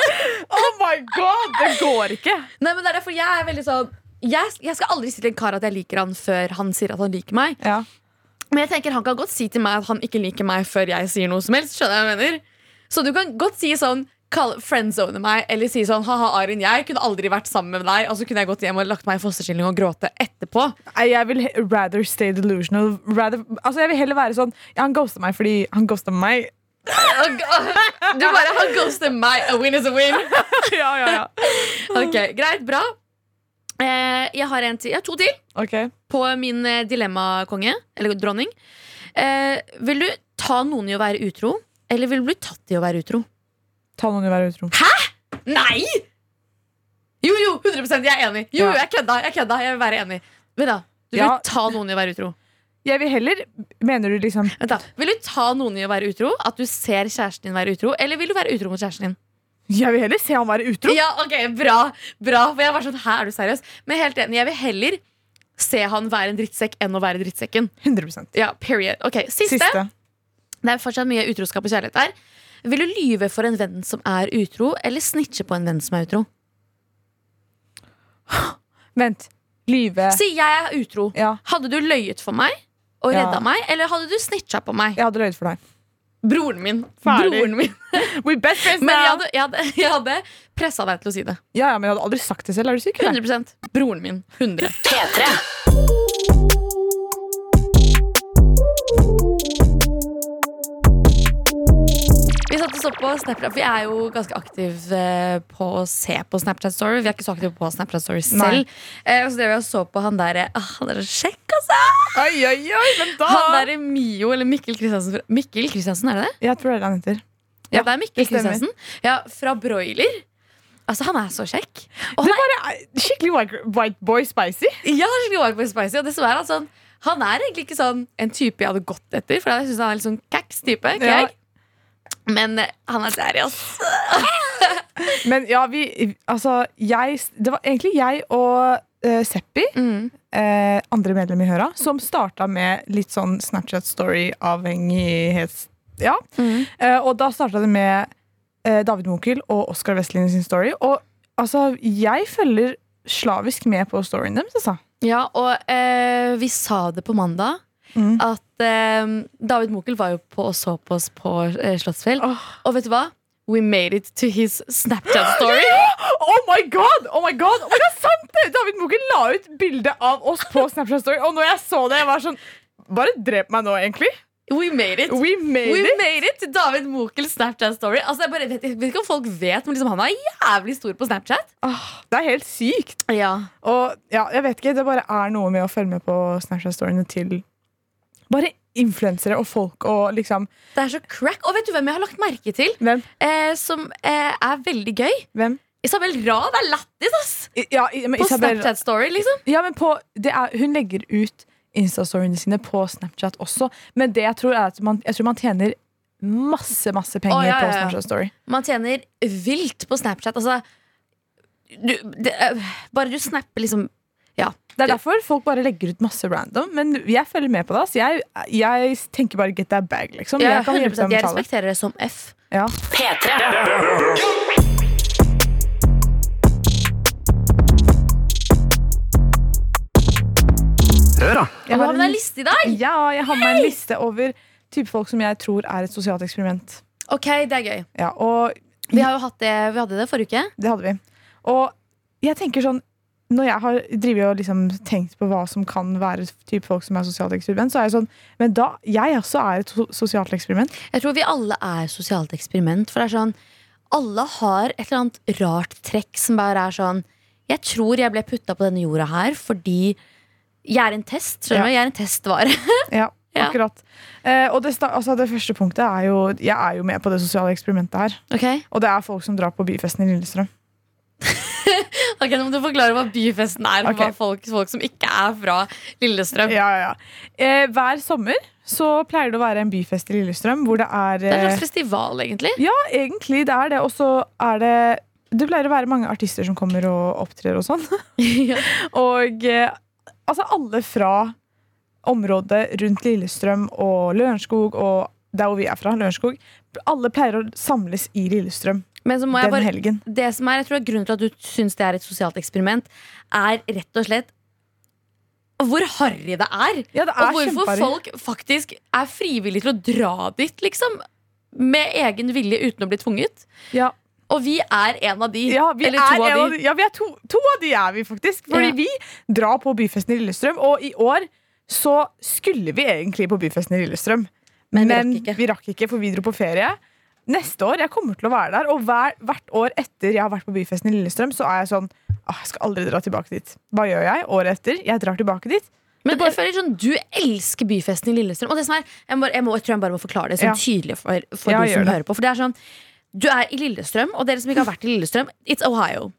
[SPEAKER 2] Oh my god! Det går ikke.
[SPEAKER 3] Nei, men det er derfor jeg er veldig sånn jeg, jeg skal aldri si til en kar at jeg liker han før han sier at han liker meg.
[SPEAKER 2] Ja.
[SPEAKER 3] Men jeg tenker han kan godt si til meg at han ikke liker meg før jeg sier noe som helst. Skjønner jeg hva jeg mener? Så du kan godt si sånn kall- Friendzone meg, eller si sånn Haha, Arin, jeg kunne aldri vært sammen med deg. Og så kunne jeg gått hjem og lagt meg i fosterstilling og gråte etterpå.
[SPEAKER 2] Nei, Jeg vil he- rather stay delusional. Rather, altså jeg vil heller være sånn ja, Han ghoster meg fordi han ghoster meg.
[SPEAKER 3] Og- og- Du bare Han ghoster meg. A win is a win.
[SPEAKER 2] ja, ja, ja.
[SPEAKER 3] Ok, Greit, bra. Eh, Jeg har en til. Jeg har to til.
[SPEAKER 2] Ok.
[SPEAKER 3] på min eh, dilemmakonge, eller dronning. Eh, vil du ta noen i å være utro, eller vil du bli tatt i å være utro?
[SPEAKER 2] Ta noen i hver utro.
[SPEAKER 3] Nei! Jo, jo, 100 jeg er enig.
[SPEAKER 2] Ja.
[SPEAKER 3] Jo, jo, jeg kødda. Jeg kødda, jeg vil være enig. Vent da, Du vil
[SPEAKER 2] Ja.
[SPEAKER 3] ta noen i å være utro.
[SPEAKER 2] Jeg vil heller Mener du liksom
[SPEAKER 3] Vent da, Vil du ta noen i å være utro? At du ser kjæresten din være utro? Eller vil du være utro mot kjæresten din?
[SPEAKER 2] Jeg vil heller se han være utro.
[SPEAKER 3] Ja, ok, bra, bra For jeg var sånn, her er du seriøs? Men helt enig, jeg vil heller se han være en drittsekk enn å være drittsekken.
[SPEAKER 2] 100
[SPEAKER 3] Ja, period. Ok, siste.
[SPEAKER 2] Siste.
[SPEAKER 3] Det er fortsatt mye utroskap og kjærlighet her. Vil du lyve for en venn som er utro, eller snitche på en venn som er utro?
[SPEAKER 2] Vent. Lyve.
[SPEAKER 3] Si jeg er utro.
[SPEAKER 2] Ja.
[SPEAKER 3] Hadde du løyet for meg og
[SPEAKER 2] Ja.
[SPEAKER 3] redda meg, eller hadde du snitcha på meg?
[SPEAKER 2] Jeg hadde løyet for deg.
[SPEAKER 3] Broren min.
[SPEAKER 2] Ferdig.
[SPEAKER 3] Broren min.
[SPEAKER 2] We best friends
[SPEAKER 3] Men jeg
[SPEAKER 2] now!
[SPEAKER 3] hadde, jeg hadde, jeg hadde pressa deg til å si det.
[SPEAKER 2] Ja, ja, men jeg hadde aldri sagt det selv. Er du syk? eller?
[SPEAKER 3] 100 Broren min. 100 Vi satt og så på Snapchat, for jeg er jo ganske aktiv eh, på å se på Snapchat Story. Vi er ikke så aktive på Snapchat Story
[SPEAKER 2] Nei.
[SPEAKER 3] selv. Eh, så det vi så på han der eh, ah, Han der er kjekk, altså!
[SPEAKER 2] Oi, oi, oi, hvem da?
[SPEAKER 3] Han der er Mio, eller Mikkel Kristiansen. fra- Mikkel Kristiansen, er det det?
[SPEAKER 2] Jeg tror det er det han heter.
[SPEAKER 3] Ja, det er Mikkel
[SPEAKER 2] det stemmer.
[SPEAKER 3] Kristiansen. Ja, fra Broiler. Altså, han er så kjekk. Og han er
[SPEAKER 2] Bare eh, skikkelig white, white boy spicy.
[SPEAKER 3] Ja, skikkelig Wild Boy Spicy. Og det som er at sånn, han er egentlig ikke sånn en type jeg hadde gått etter, for jeg syns han er litt sånn kæks type.
[SPEAKER 2] Ja.
[SPEAKER 3] kæk. Men eh, han er seriøs.
[SPEAKER 2] Men ja, vi Altså, jeg Det var egentlig jeg og eh, Seppi,
[SPEAKER 3] Mm.
[SPEAKER 2] eh, andre medlem i Høra, som starta med litt sånn Snapchat Story-avhengighets... Ja. Eh, og da starta det med eh, David Mokel og Oskar Westlin sin story. Og altså, jeg følger slavisk med på storyen deres, altså.
[SPEAKER 3] Ja, og eh, vi sa det på mandag.
[SPEAKER 2] Mm.
[SPEAKER 3] At eh, David Mokel var jo på og så på oss på eh, Slottsfjell. Og vet du hva? We made it to his Snapchat story.
[SPEAKER 2] Oh my god! Oh my god! Oh my god sant det! David Moken la ut bilde av oss på Snapchat Story, og når jeg så det, jeg var sånn Bare drep meg nå, egentlig.
[SPEAKER 3] We made it.
[SPEAKER 2] We made
[SPEAKER 3] We
[SPEAKER 2] it!
[SPEAKER 3] made it til David Mokels Snapchat story. Altså, jeg, bare vet, jeg vet ikke om folk vet, men liksom, han er jævlig stor på Snapchat.
[SPEAKER 2] Åh, det er helt sykt.
[SPEAKER 3] Ja.
[SPEAKER 2] Og ja, jeg vet ikke, det bare er noe med å følge med på Snapchat Storyene til bare influensere og folk og liksom
[SPEAKER 3] Det er så crack. Og vet du hvem jeg har lagt merke til?
[SPEAKER 2] Hvem?
[SPEAKER 3] Eh, som eh, er veldig gøy.
[SPEAKER 2] Hvem?
[SPEAKER 3] Isabel Rad er lættis, ass!
[SPEAKER 2] I, ja, i, men
[SPEAKER 3] På
[SPEAKER 2] Isabel,
[SPEAKER 3] Snapchat Story, liksom.
[SPEAKER 2] Ja, men på, det er, hun legger ut Insta-storyene sine på Snapchat også, men det jeg tror er at man, jeg tror man tjener masse, masse penger
[SPEAKER 3] Å, ja,
[SPEAKER 2] på
[SPEAKER 3] ja, ja.
[SPEAKER 2] Snapchat Story.
[SPEAKER 3] Man tjener vilt på Snapchat. Altså, du, det, eh, bare du snapper liksom Ja.
[SPEAKER 2] Det er derfor folk bare legger ut masse random, men jeg følger med på det. Så jeg, jeg tenker bare get that bag, liksom.
[SPEAKER 3] Ja,
[SPEAKER 2] jeg kan hjelpe
[SPEAKER 3] 100%.
[SPEAKER 2] deg med
[SPEAKER 3] Jeg
[SPEAKER 2] tallet.
[SPEAKER 3] respekterer det som F.
[SPEAKER 2] Ja.
[SPEAKER 4] Hør da.
[SPEAKER 3] Jeg har med deg
[SPEAKER 2] en,
[SPEAKER 3] en liste i dag!
[SPEAKER 2] ja, jeg har med en liste over type folk som jeg tror er et sosialt eksperiment.
[SPEAKER 3] Ok, det er gøy.
[SPEAKER 2] Ja, og
[SPEAKER 3] Vi, har jo hatt det, vi hadde det forrige uke.
[SPEAKER 2] Det hadde vi. Og jeg tenker sånn når jeg har drivet og liksom tenkt på hva som kan være typ folk som er sosialt eksperiment, så er jeg sånn Men da Jeg også er et so- sosialt eksperiment.
[SPEAKER 3] Jeg tror vi alle er sosialt eksperiment. For det er sånn Alle har et eller annet rart trekk som bare er sånn Jeg tror jeg ble putta på denne jorda her fordi jeg er en test. Skjønner du? Jeg er en testvare.
[SPEAKER 2] Ja,
[SPEAKER 3] Ja.
[SPEAKER 2] akkurat. Eh, og det, sta- altså det første punktet er jo Jeg er jo med på det sosiale eksperimentet her.
[SPEAKER 3] Ok,
[SPEAKER 2] Og det er folk som drar på byfesten i Lillestrøm.
[SPEAKER 3] Ok, Nå må du forklare hva byfesten er for
[SPEAKER 2] Ok.
[SPEAKER 3] hva folk, folk som ikke er fra Lillestrøm.
[SPEAKER 2] Ja, ja, ja. Eh, hver sommer så pleier det å være en byfest i Lillestrøm hvor det er
[SPEAKER 3] Det er en
[SPEAKER 2] eh,
[SPEAKER 3] slags festival, egentlig.
[SPEAKER 2] Ja, egentlig det er det. Og så er det Det pleier å være mange artister som kommer og opptrer og sånn.
[SPEAKER 3] ja.
[SPEAKER 2] Og eh, altså alle fra området rundt Lillestrøm og Lørenskog og der hvor vi er fra, Lørenskog, alle pleier å samles i Lillestrøm
[SPEAKER 3] Men så må jeg
[SPEAKER 2] den
[SPEAKER 3] bare
[SPEAKER 2] helgen.
[SPEAKER 3] det som er, jeg tror Grunnen til at du syns det er et sosialt eksperiment, er rett og slett hvor harry det er.
[SPEAKER 2] Ja, det
[SPEAKER 3] Og
[SPEAKER 2] er
[SPEAKER 3] hvorfor
[SPEAKER 2] kjempearrig.
[SPEAKER 3] folk faktisk er frivillige til å dra dit, liksom. Med egen vilje uten å bli tvunget.
[SPEAKER 2] Ja.
[SPEAKER 3] Og vi er en av de.
[SPEAKER 2] Ja, vi
[SPEAKER 3] eller
[SPEAKER 2] er,
[SPEAKER 3] to
[SPEAKER 2] en
[SPEAKER 3] av
[SPEAKER 2] av
[SPEAKER 3] de.
[SPEAKER 2] de- ja, vi er to, to av de er vi faktisk. Fordi
[SPEAKER 3] Ja.
[SPEAKER 2] vi drar på byfesten i Lillestrøm, og i år så skulle vi egentlig på byfesten i Lillestrøm.
[SPEAKER 3] Men vi rakk ikke.
[SPEAKER 2] for vi dro på ferie. Neste år, jeg kommer til å være der, og hver, hvert år etter jeg har vært på byfesten i Lillestrøm, så er jeg sånn «Åh, Jeg skal aldri dra tilbake dit. Hva gjør jeg året etter? Jeg drar tilbake dit.
[SPEAKER 3] Men jeg føler sånn, du elsker byfesten i Lillestrøm. Og det som er, sånn jeg, må, jeg, må, jeg tror jeg bare må forklare det
[SPEAKER 2] Ja.
[SPEAKER 3] sånn tydelig for, for
[SPEAKER 2] Ja,
[SPEAKER 3] de som
[SPEAKER 2] gjør det.
[SPEAKER 3] hører på. For det er sånn, du er i Lillestrøm, og dere som ikke har vært i Lillestrøm, it's Ohio.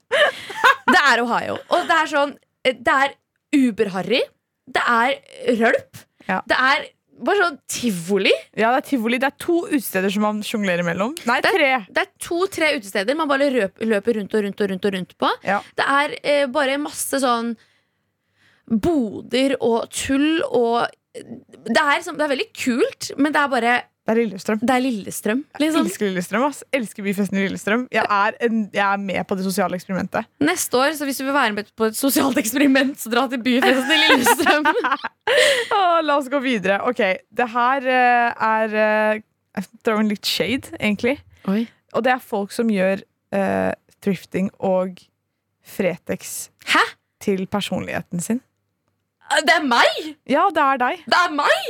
[SPEAKER 3] Det er Ohio. Og det er sånn, det er uber-harry. Det er rølp.
[SPEAKER 2] Ja.
[SPEAKER 3] Det er bare sånn tivoli.
[SPEAKER 2] Ja, det er tivoli. Det er to utesteder som man sjonglerer mellom. Nei,
[SPEAKER 3] Det-
[SPEAKER 2] tre.
[SPEAKER 3] Det er to-tre utesteder man bare røp, løper rundt og rundt og rundt og rundt på.
[SPEAKER 2] Ja.
[SPEAKER 3] Det er eh, bare masse sånn boder og tull og det er, liksom, det er veldig kult, men det er bare
[SPEAKER 2] Det er Lillestrøm.
[SPEAKER 3] Det er Lillestrøm,
[SPEAKER 2] Jeg
[SPEAKER 3] liksom.
[SPEAKER 2] elsker Lillestrøm. ass. Elsker byfesten i Lillestrøm. Jeg er, en, jeg er med på det sosiale eksperimentet.
[SPEAKER 3] Neste år, så hvis du vil være med på et sosialt eksperiment, så dra til byfesten i Lillestrøm.
[SPEAKER 2] Å, la oss gå videre. Ok, det her eh, er eh, Jeg drar en litt shade, egentlig.
[SPEAKER 3] Oi.
[SPEAKER 2] Og det er folk som gjør eh, thrifting og Fretex
[SPEAKER 3] Hæ?
[SPEAKER 2] til personligheten sin.
[SPEAKER 3] Ah, Det er meg!
[SPEAKER 2] Ja, det er deg.
[SPEAKER 3] Det er meg!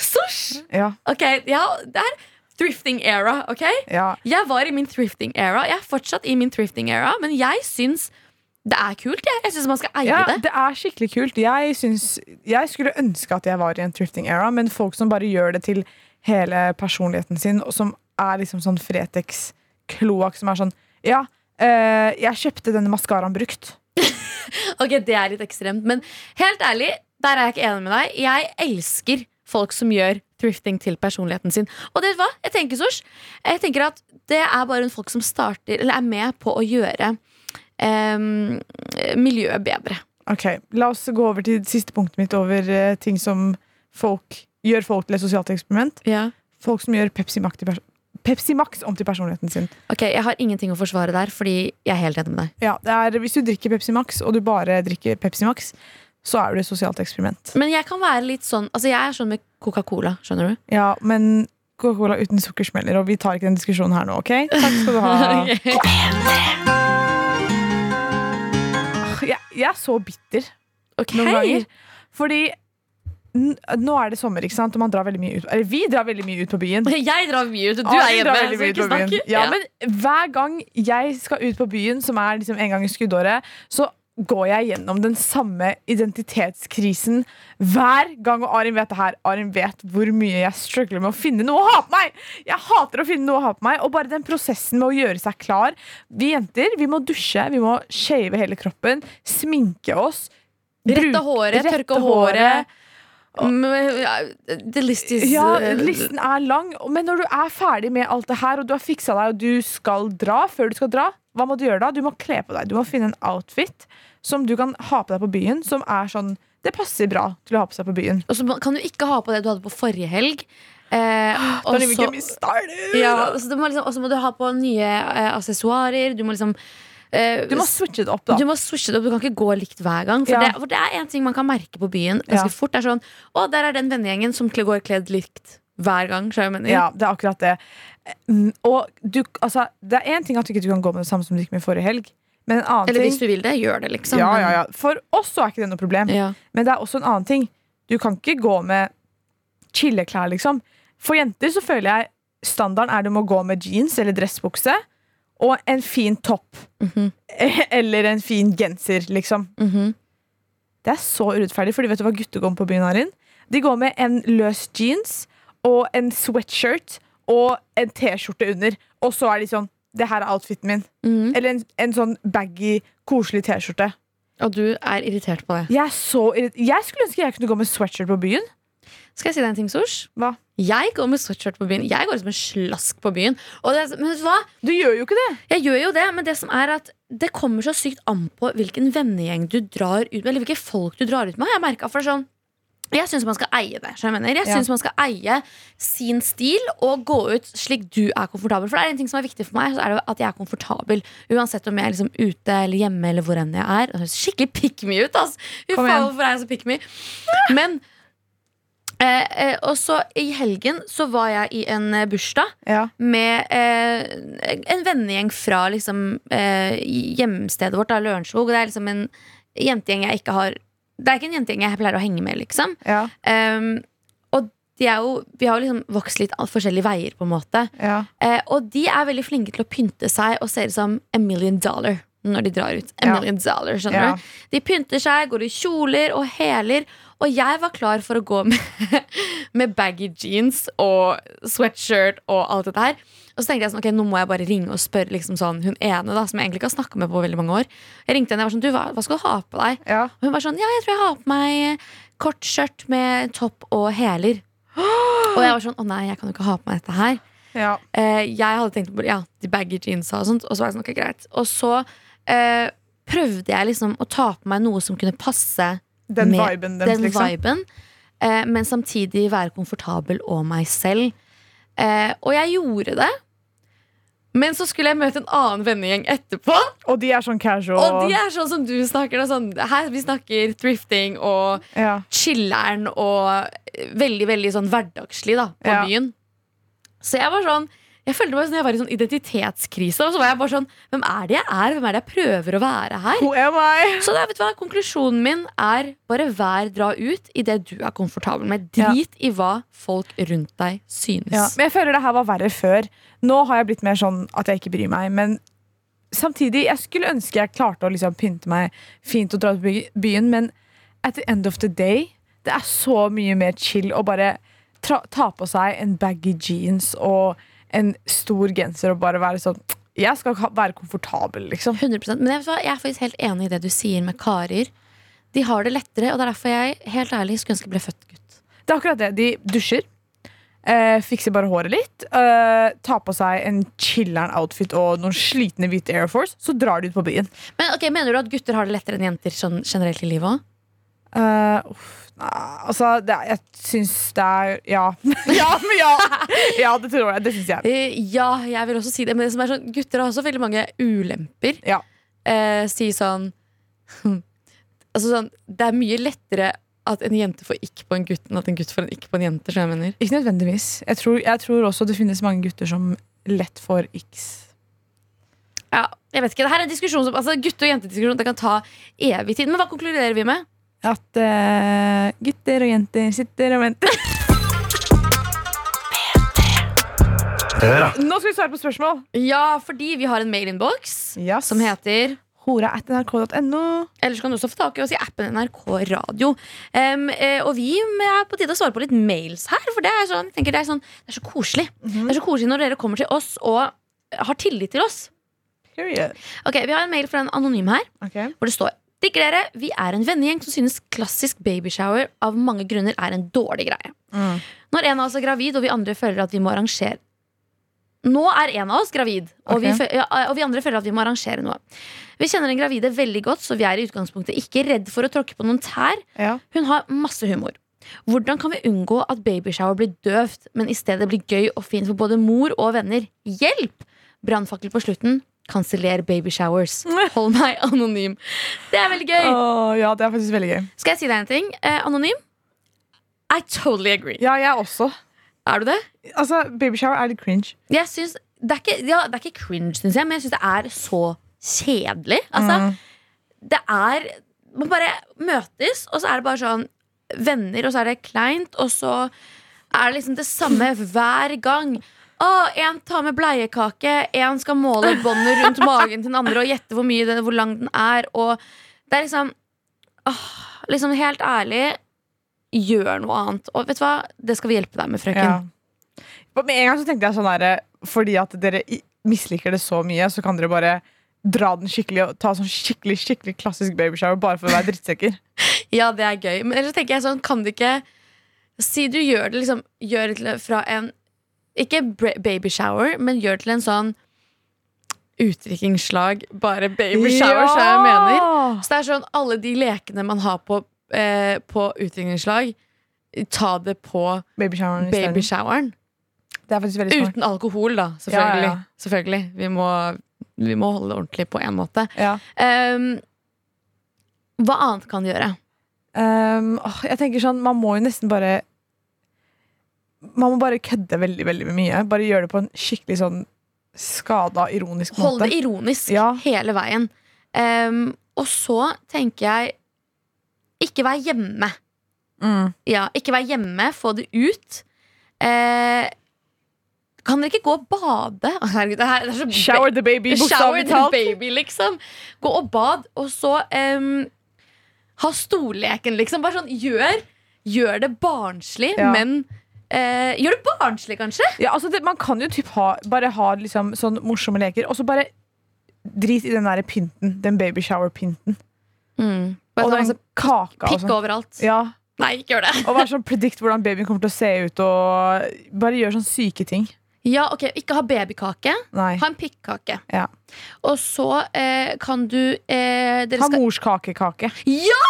[SPEAKER 3] Sosh!
[SPEAKER 2] Ja,
[SPEAKER 3] Ok, ja, det er thrifting era, ok?
[SPEAKER 2] ja.
[SPEAKER 3] Jeg var i min thrifting era. Jeg er fortsatt i min thrifting era, men jeg syns det er kult. Jeg, jeg syns man skal eie
[SPEAKER 2] ja
[SPEAKER 3] det.
[SPEAKER 2] det er skikkelig kult. Jeg, syns, jeg skulle ønske at jeg var i en thrifting era, men folk som bare gjør det til hele personligheten sin, og som er liksom sånn Fretex-kloakk, som er sånn Ja, eh, jeg kjøpte denne maskaraen brukt.
[SPEAKER 3] Ok, det er litt ekstremt, men helt ærlig, der er jeg ikke enig med deg. Jeg elsker folk som gjør thrifting til personligheten sin. Og det vet du hva? Jeg tenker, Sosh, jeg tenker at det er bare en folk som starter, eller er med på å gjøre em, miljøet bedre.
[SPEAKER 2] Ok, La oss gå over til siste punktet mitt over eh, ting som folk gjør folk til et sosialt eksperiment. Folk som gjør Pepsi Max, til pers Pepsi Max om til personligheten sin.
[SPEAKER 3] Ok, Jeg har ingenting å forsvare der, fordi jeg er helt enig med deg.
[SPEAKER 2] Ja, det er, Hvis du drikker Pepsi Max, og du bare drikker Pepsi Max, så er du et sosialt eksperiment.
[SPEAKER 3] Men jeg kan være litt sånn Altså, jeg er sånn med Coca-Cola, skjønner du?
[SPEAKER 2] Ja, men Coca-Cola uten sukkersmeller, og vi tar ikke den diskusjonen her nå, OK? Takk skal du ha. jeg, jeg er så bitter
[SPEAKER 3] Ok.
[SPEAKER 2] noen ganger. Fordi n nå er det sommer, ikke sant? og man drar veldig mye ut Eller vi drar veldig mye ut på byen.
[SPEAKER 3] Jeg drar mye ut, og du
[SPEAKER 2] Ja,
[SPEAKER 3] er
[SPEAKER 2] vi
[SPEAKER 3] hjemme.
[SPEAKER 2] drar
[SPEAKER 3] Så
[SPEAKER 2] veldig
[SPEAKER 3] vi
[SPEAKER 2] mye
[SPEAKER 3] ikke
[SPEAKER 2] ut på byen.
[SPEAKER 3] snakker.
[SPEAKER 2] Ja, men hver gang jeg skal ut på byen, som er liksom en gang i skuddåret, så går jeg gjennom den samme identitetskrisen hver gang. Og Arin vet det her. Arin vet hvor mye jeg struggler med å finne noe å ha på meg! Jeg hater å finne noe å ha på meg, og bare den prosessen med å gjøre seg klar. Vi jenter vi må dusje, vi må shave hele kroppen, sminke oss.
[SPEAKER 3] Rette
[SPEAKER 2] bruke-
[SPEAKER 3] håret,
[SPEAKER 2] rette
[SPEAKER 3] tørke håret. Mm, ja, The list is
[SPEAKER 2] Ja,
[SPEAKER 3] eh,
[SPEAKER 2] listen er lang, men når du er ferdig med alt det her, og du har fiksa deg, og du skal dra før du skal dra, hva må du gjøre da? Du må kle på deg. Du må finne en outfit som du kan ha på deg på byen, som er sånn Det passer bra til å ha på seg på byen.
[SPEAKER 3] Og så kan du ikke ha på det du hadde på forrige helg. Eh,
[SPEAKER 2] Ah, Da
[SPEAKER 3] og
[SPEAKER 2] driver
[SPEAKER 3] så-
[SPEAKER 2] ikke vi starter!
[SPEAKER 3] ja, så du må liksom, og så må du ha på nye eh, aksessoarer. Du må liksom eh,
[SPEAKER 2] Du må switche det opp, da.
[SPEAKER 3] Du må switche det opp, du kan ikke gå likt hver gang. For,
[SPEAKER 2] Ja.
[SPEAKER 3] det, for det er en ting man kan merke på byen
[SPEAKER 2] Ja.
[SPEAKER 3] ganske fort. Det er sånn, Å, der er den vennegjengen som kle- går kledd likt hver gang. skjønner du hva jeg mener?
[SPEAKER 2] Ja, det er akkurat det. Mm, Og du, altså, det er én ting at du ikke du kan gå med det samme som du gikk med forrige helg, men en annen
[SPEAKER 3] Eller hvis
[SPEAKER 2] ting
[SPEAKER 3] du vil det, gjør det, liksom.
[SPEAKER 2] ja,
[SPEAKER 3] Men-
[SPEAKER 2] ja, ja. For oss så er ikke det noe problem.
[SPEAKER 3] Ja.
[SPEAKER 2] Men det er også en annen ting. Du kan ikke gå med chilleklær, liksom. For jenter så føler jeg standarden er du må gå med jeans eller dressbukse og en fin topp.
[SPEAKER 3] Mhm.
[SPEAKER 2] Eller en fin genser, liksom.
[SPEAKER 3] Mhm.
[SPEAKER 2] Det er så urettferdig, for vet du hva gutter går med på byen, Arin? De går med en løs jeans og en sweatshirt og en T-skjorte under. Og så er de sånn Det her er outfiten min.
[SPEAKER 3] Mhm.
[SPEAKER 2] Eller en, en sånn baggy, koselig T-skjorte.
[SPEAKER 3] Og du er irritert på det.
[SPEAKER 2] Jeg, er så irrit- jeg skulle ønske jeg kunne gå med sweatshirt på byen.
[SPEAKER 3] Skal jeg si deg en ting, Sosh?
[SPEAKER 2] Hva?
[SPEAKER 3] Jeg går med sweatshirt på byen. Jeg går som en slask på byen. Og det, er så- men vet du hva?
[SPEAKER 2] Du gjør jo ikke det.
[SPEAKER 3] Jeg gjør jo det, men det som er at det kommer så sykt an på hvilken vennegjeng du drar ut med, eller hvilke folk du drar ut med. har Jeg merket, for det er sånn jeg syns man skal eie det. skjønner du hva Jeg, mener. jeg
[SPEAKER 2] Ja.
[SPEAKER 3] synes man skal eie sin stil og gå ut slik du er komfortabel. For det er en ting som er viktig for meg, så er det at jeg er komfortabel. Uansett om jeg er liksom ute eller hjemme eller hvor enn jeg er. Det høres skikkelig pick me ut, ass. Fy
[SPEAKER 2] Kom
[SPEAKER 3] faen,
[SPEAKER 2] igjen.
[SPEAKER 3] hvorfor er jeg så pick me? Men eh, eh, Og så i helgen så var jeg i en eh, bursdag
[SPEAKER 2] Ja.
[SPEAKER 3] med eh, en vennegjeng fra liksom, eh, hjemstedet vårt, da, Lørenskog. Og det er liksom en jentegjeng jeg ikke har Det er ikke en jentegjeng jeg pleier å henge med, liksom.
[SPEAKER 2] Ja,
[SPEAKER 3] Ehm, og de er jo, vi har jo liksom vokst litt av forskjellige veier, på en måte.
[SPEAKER 2] ja.
[SPEAKER 3] Eh, og de er veldig flinke til å pynte seg og ser ut som a million dollar når de drar ut. A
[SPEAKER 2] Ja.
[SPEAKER 3] million dollar, skjønner
[SPEAKER 2] Ja.
[SPEAKER 3] du? De pynter seg, går i kjoler og hæler. Og jeg var klar for å gå med, med baggy jeans og sweatshirt og alt dette her. Og så tenkte jeg sånn, ok, nå må jeg bare ringe og spørre liksom sånn, hun ene da, som jeg egentlig ikke har snakka med på veldig mange år. Jeg ringte henne og var sånn, du, hva, hva skal du ha på deg?
[SPEAKER 2] ja.
[SPEAKER 3] Og hun var sånn, ja, jeg tror jeg har på meg eh, kort skjørt med topp og hæler. Og jeg var sånn, å nei, jeg kan jo ikke ha på meg dette her.
[SPEAKER 2] ja.
[SPEAKER 3] Eh, jeg hadde tenkt på ja, de baggy jeansa og sånt, og så var det sånn, ok, greit. Og så eh, prøvde jeg liksom å ta på meg noe som kunne passe
[SPEAKER 2] Den
[SPEAKER 3] Med
[SPEAKER 2] viben deres,
[SPEAKER 3] den
[SPEAKER 2] liksom.
[SPEAKER 3] viben, eh, men samtidig være komfortabel og meg selv. Eh, og jeg gjorde det. Men så skulle jeg møte en annen vennegjeng etterpå.
[SPEAKER 2] Og de er sånn casual.
[SPEAKER 3] Og de er sånn som du snakker. da, Sånn, her, vi snakker thrifting og
[SPEAKER 2] ja.
[SPEAKER 3] chiller'n og veldig veldig sånn hverdagslig da, på
[SPEAKER 2] Ja.
[SPEAKER 3] byen. Så jeg var sånn Jeg følte meg som jeg var i sånn identitetskrise. Og så var jeg bare sånn Hvem er det jeg er? Hvem er det jeg prøver å være her?
[SPEAKER 2] Who am I?
[SPEAKER 3] Så da, vet du hva, konklusjonen min er bare vær dra ut i det du er komfortabel med.
[SPEAKER 2] Ja.
[SPEAKER 3] Drit i hva folk rundt deg synes.
[SPEAKER 2] Ja, men jeg føler det her var verre før. Nå har jeg blitt mer sånn at jeg ikke bryr meg. Men samtidig, jeg skulle ønske jeg klarte å liksom pynte meg fint og dra til by- byen, men at the end of the day, det er så mye mer chill å bare tra ta på seg en baggy jeans og en stor genser og bare være sånn Jeg skal ha- være komfortabel, liksom.
[SPEAKER 3] 100% Men jeg, vet hva, jeg er faktisk helt enig i det du sier med karer. De har det lettere, og det er derfor jeg helt ærlig skulle ønske jeg ble født gutt.
[SPEAKER 2] Det er akkurat det. De dusjer. Eh, fikser bare håret litt. Eh, tar på seg en chiller'n outfit og noen slitne hvite Air Force. Så drar de ut på byen.
[SPEAKER 3] Men ok, Mener du at gutter har det lettere enn jenter sånn generelt i livet òg?
[SPEAKER 2] Eh, uff, nei, altså, det er, jeg syns det er Ja. ja, men ja. ja, det tror jeg. Det syns jeg.
[SPEAKER 3] Eh, ja, jeg vil også si det. Men det som er sånn, gutter har også veldig mange ulemper.
[SPEAKER 2] Ja.
[SPEAKER 3] Eh, si sånn Altså sånn, Det er mye lettere at en jente får ikk på en gutt, enn at en gutt får en ikk på en jente. skjønner du hva Jeg mener
[SPEAKER 2] Ikke nødvendigvis. Jeg tror, jeg tror også det finnes mange gutter som lett får x.
[SPEAKER 3] Ja, jeg vet ikke, det her er en diskusjon som, altså Gutte- og jentediskusjon det kan ta evig tid. Men hva konkluderer vi med?
[SPEAKER 2] At eh, gutter og jenter sitter og venter.
[SPEAKER 4] Hør, da.
[SPEAKER 2] Nå skal vi svare på spørsmål.
[SPEAKER 3] Ja, fordi vi har en mailinnboks
[SPEAKER 2] Yes.
[SPEAKER 3] som heter
[SPEAKER 2] Hora at nrk.no.
[SPEAKER 3] Eller så kan du også få tak i oss i appen NRK Radio. Em, eh, og vi er på tide å svare på litt mails her, for det er, sånn, jeg tenker det er, sånn, det er så koselig.
[SPEAKER 2] Mhm.
[SPEAKER 3] Det er så koselig når dere kommer til oss og har tillit til oss.
[SPEAKER 2] Period.
[SPEAKER 3] Ok, Vi har en mail fra en anonym her,
[SPEAKER 2] Ok.
[SPEAKER 3] hvor det står Digger dere, vi er en vennegjeng som synes klassisk babyshower av mange grunner er en dårlig greie.
[SPEAKER 2] Mm.
[SPEAKER 3] Når en av oss er gravid, og vi andre føler at vi må arrangere Nå er en av oss gravid, og,
[SPEAKER 2] Ok.
[SPEAKER 3] vi, fø- ja, eh, og vi andre føler at vi må arrangere noe. Vi kjenner den gravide veldig godt, så vi er i utgangspunktet ikke redd for å tråkke på noen tær.
[SPEAKER 2] Ja.
[SPEAKER 3] Hun har masse humor. Hvordan kan vi unngå at babyshower blir døvt, men i stedet blir gøy og fint for både mor og venner? Hjelp! Brannfakkel på slutten. Kanseller babyshowers. Hold meg anonym. Det er veldig gøy.
[SPEAKER 2] Åh, ja, det er faktisk veldig gøy.
[SPEAKER 3] Skal jeg si deg en ting? Eh, anonym? I totally agree.
[SPEAKER 2] Ja, jeg også.
[SPEAKER 3] Er du det?
[SPEAKER 2] Altså, Babyshower er litt cringe.
[SPEAKER 3] Jeg synes, det, er ikke, ja, det er ikke cringe, synes jeg, men jeg syns det er så kjedelig. Altså, det er Man bare møtes, og så er det bare sånn venner, og så er det kleint, og så er det liksom det samme hver gang. Å, en tar med bleiekake, en skal måle båndet rundt magen til den andre og gjette hvor mye den, hvor lang den er, og det er liksom åh, Liksom helt ærlig, gjør noe annet. Og vet du hva? Det skal vi hjelpe deg med, frøken.
[SPEAKER 2] Ja. Og Med en gang så tenkte jeg sånn der, Fordi at dere i- misliker det så mye, så kan dere bare dra den skikkelig og ta sånn skikkelig skikkelig klassisk babyshower bare for å være drittsekker.
[SPEAKER 3] Ja, det er gøy. Men ellers tenker jeg sånn, kan du ikke Si du gjør det liksom Gjør det til, fra en Ikke babyshower, men gjør det til en sånn utdrikkingslag. Bare babyshower, så jeg mener. Så det er sånn, alle de lekene man har på, eh, på utdrikningslag, ta det på
[SPEAKER 2] Babyshoweren i stedet.
[SPEAKER 3] babyshoweren.
[SPEAKER 2] Det er faktisk veldig smart.
[SPEAKER 3] Uten alkohol, da.
[SPEAKER 2] Ja,
[SPEAKER 3] Selvfølgelig.
[SPEAKER 2] ja, ja.
[SPEAKER 3] selvfølgelig. Vi, må, vi må holde det ordentlig på én måte.
[SPEAKER 2] Ja.
[SPEAKER 3] Ehm, hva annet kan du gjøre?
[SPEAKER 2] Um, åh, jeg tenker sånn, Man må jo nesten bare Man må bare kødde veldig veldig mye. Bare gjøre det på en skikkelig sånn skada, ironisk
[SPEAKER 3] Hold
[SPEAKER 2] måte.
[SPEAKER 3] det ironisk
[SPEAKER 2] Ja.
[SPEAKER 3] hele veien. Ehm, og så tenker jeg Ikke vær hjemme.
[SPEAKER 2] Mm.
[SPEAKER 3] Ja, ikke vær hjemme, få det ut. Eh, kan dere ikke gå og bade? Å, Herregud, det, her, det er så
[SPEAKER 2] Shower the baby,
[SPEAKER 3] Shower
[SPEAKER 2] bokstavelig
[SPEAKER 3] the
[SPEAKER 2] talt.
[SPEAKER 3] baby, liksom. Gå og bad, og så ehm, ha stolleken, liksom. Bare sånn, gjør, gjør det barnslig,
[SPEAKER 2] Ja.
[SPEAKER 3] men eh, Gjør det barnslig, kanskje?
[SPEAKER 2] Ja, altså det, Man kan jo typ ha, bare ha liksom, sånn morsomme leker, og så bare drit i den der pynten. Den babyshower-pynten. Mm. Og
[SPEAKER 3] Bare sånn,
[SPEAKER 2] den kaka og
[SPEAKER 3] Pikk
[SPEAKER 2] sånn.
[SPEAKER 3] overalt.
[SPEAKER 2] Ja,
[SPEAKER 3] Nei, ikke gjør det.
[SPEAKER 2] og bare sånn predict hvordan babyen kommer til å se ut, og bare gjør sånn syke ting.
[SPEAKER 3] Ja, ok, Ikke ha babykake.
[SPEAKER 2] Nei.
[SPEAKER 3] Ha en pikkake.
[SPEAKER 2] Ja.
[SPEAKER 3] Og så eh, kan du eh, Dere
[SPEAKER 2] Ha
[SPEAKER 3] skal
[SPEAKER 2] morskakekake.
[SPEAKER 3] Ja!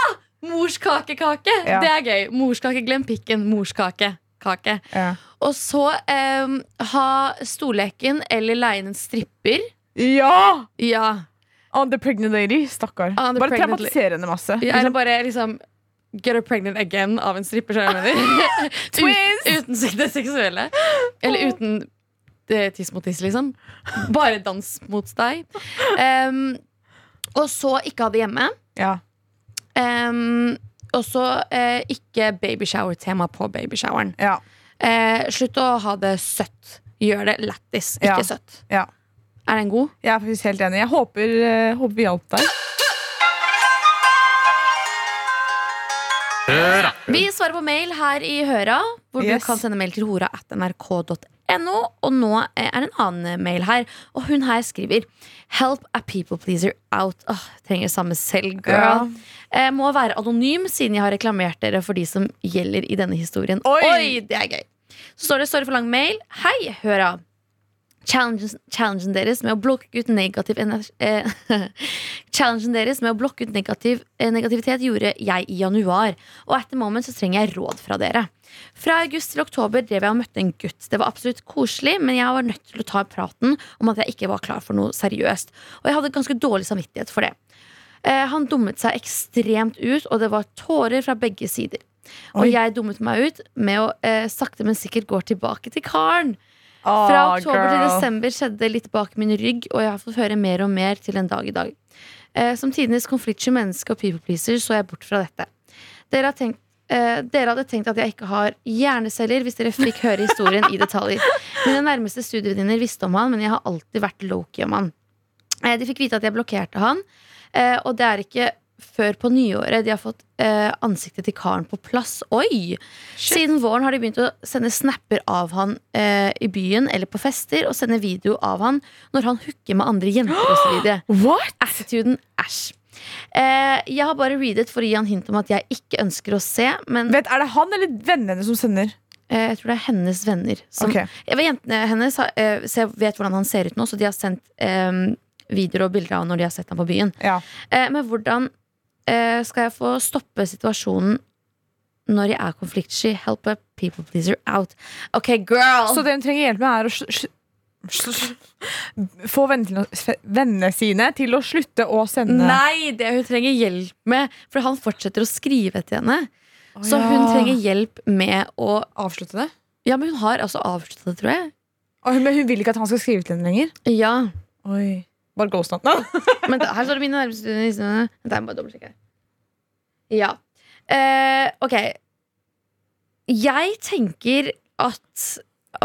[SPEAKER 3] Morskakekake!
[SPEAKER 2] Ja.
[SPEAKER 3] Det er gøy. Morskake, glem pikken. Morskake. kake.
[SPEAKER 2] Ja.
[SPEAKER 3] Og så em, ha stolleken eller leie inn en stripper.
[SPEAKER 2] ja!
[SPEAKER 3] Ja.
[SPEAKER 2] On the pregnant lady. Stakkar.
[SPEAKER 3] On the
[SPEAKER 2] Bare
[SPEAKER 3] pregnant
[SPEAKER 2] traumatiser henne masse.
[SPEAKER 3] Ja, Eller
[SPEAKER 2] Liksom.
[SPEAKER 3] bare liksom Get her pregnant again av en stripper. skjønner du hva jeg mener.
[SPEAKER 2] Twist!
[SPEAKER 3] Ut, uten sek- det seksuelle. Eller uten eh, tiss mot tiss, liksom. Bare dans mot deg. Em, og så ikke ha det hjemme.
[SPEAKER 2] Ja.
[SPEAKER 3] Em, og så eh, ikke babyshower-tema på babyshoweren.
[SPEAKER 2] Ja.
[SPEAKER 3] Eh, slutt å ha det søtt. Gjør det lættis, ikke
[SPEAKER 2] Ja.
[SPEAKER 3] søtt.
[SPEAKER 2] Ja.
[SPEAKER 3] Er den god?
[SPEAKER 2] Jeg er faktisk helt enig. Jeg håper, eh, håper vi hjalp deg.
[SPEAKER 4] Høra.
[SPEAKER 3] Vi svarer på mail her i Høra, hvor
[SPEAKER 2] Yes.
[SPEAKER 3] du kan sende mail til hora at nrk.no. Og nå eh, er en annen mail her, og hun her skriver Help a people pleaser out. Åh, trenger samme selv, girl. Eh, må være anonym, siden jeg har reklamert dere for de som gjelder i denne historien.
[SPEAKER 2] Oi!
[SPEAKER 3] det er gøy. Så står det sorry for lang mail. Hei, Høra. Challengen, challengen deres med å blokke ut negativ energi eh, Challengen deres med å blokke ut negativ, eh, negativitet gjorde jeg i januar. Og at the moment så trenger jeg råd fra dere. Fra august til oktober drev jeg og møtte en gutt. Det var absolutt koselig, men jeg var nødt til å ta praten om at jeg ikke var klar for noe seriøst. Og jeg hadde ganske dårlig samvittighet for det. Eh, han dummet seg ekstremt ut, og det var tårer fra begge sider. Og
[SPEAKER 2] Oi.
[SPEAKER 3] jeg dummet meg ut med å eh, sakte, men sikkert gå tilbake til karen.
[SPEAKER 2] Åh,
[SPEAKER 3] Fra oktober
[SPEAKER 2] Ah,
[SPEAKER 3] til
[SPEAKER 2] girl.
[SPEAKER 3] desember skjedde det litt bak min rygg, og jeg har fått høre mer og mer til en dag i dag. Eh, som tidenes konfliktsky menneske og people pleaser så jeg bort fra dette. Dere, har tenkt, eh, dere hadde tenkt at jeg ikke har hjerneceller hvis dere fikk høre historien i detaljer. Mine nærmeste studievenninner visste om han, men jeg har alltid vært lowkey om han. Eh, de fikk vite at jeg blokkerte han, eh, og det er ikke før på nyåret de har fått eh, ansiktet til karen på plass. Oi! Siden våren har de begynt å sende snapper av han eh, i byen eller på fester, og sende video av han når han hooker med andre jenter osv.
[SPEAKER 2] What?
[SPEAKER 3] Attituden æsj. Eh, jeg har bare readet for å gi han hint om at jeg ikke ønsker å se, men
[SPEAKER 2] Vet, er det han eller vennene hennes som sender?
[SPEAKER 3] eh, jeg tror det er hennes venner. Som,
[SPEAKER 2] Ok.
[SPEAKER 3] Jeg vet, Jentene hennes har, eh, ser- vet hvordan han ser ut nå, så de har sendt eh, videoer og bilder av han når de har sett ham på byen.
[SPEAKER 2] Ja.
[SPEAKER 3] Eh, men hvordan eh, skal jeg få stoppe situasjonen når jeg er konfliktsky? Help a people pleaser out. Ok, girl!
[SPEAKER 2] Så det hun trenger hjelp med, er å sl- sl- sl- få vennene, til å, fe- vennene sine til å slutte å sende.
[SPEAKER 3] Nei, det hun trenger hjelp med For han fortsetter å skrive til henne. Så hun trenger hjelp med å
[SPEAKER 2] avslutte det.
[SPEAKER 3] Ja, men hun har altså avsluttet det, tror jeg.
[SPEAKER 2] Og hun, men hun vil ikke at han skal skrive til henne lenger.
[SPEAKER 3] Ja,
[SPEAKER 2] Oi. Bare ghost han.
[SPEAKER 3] men da, Her står det mine nærmeste venninner. Vent, jeg må bare dobbeltsjekke her. Ja. Eh, ok. Jeg tenker at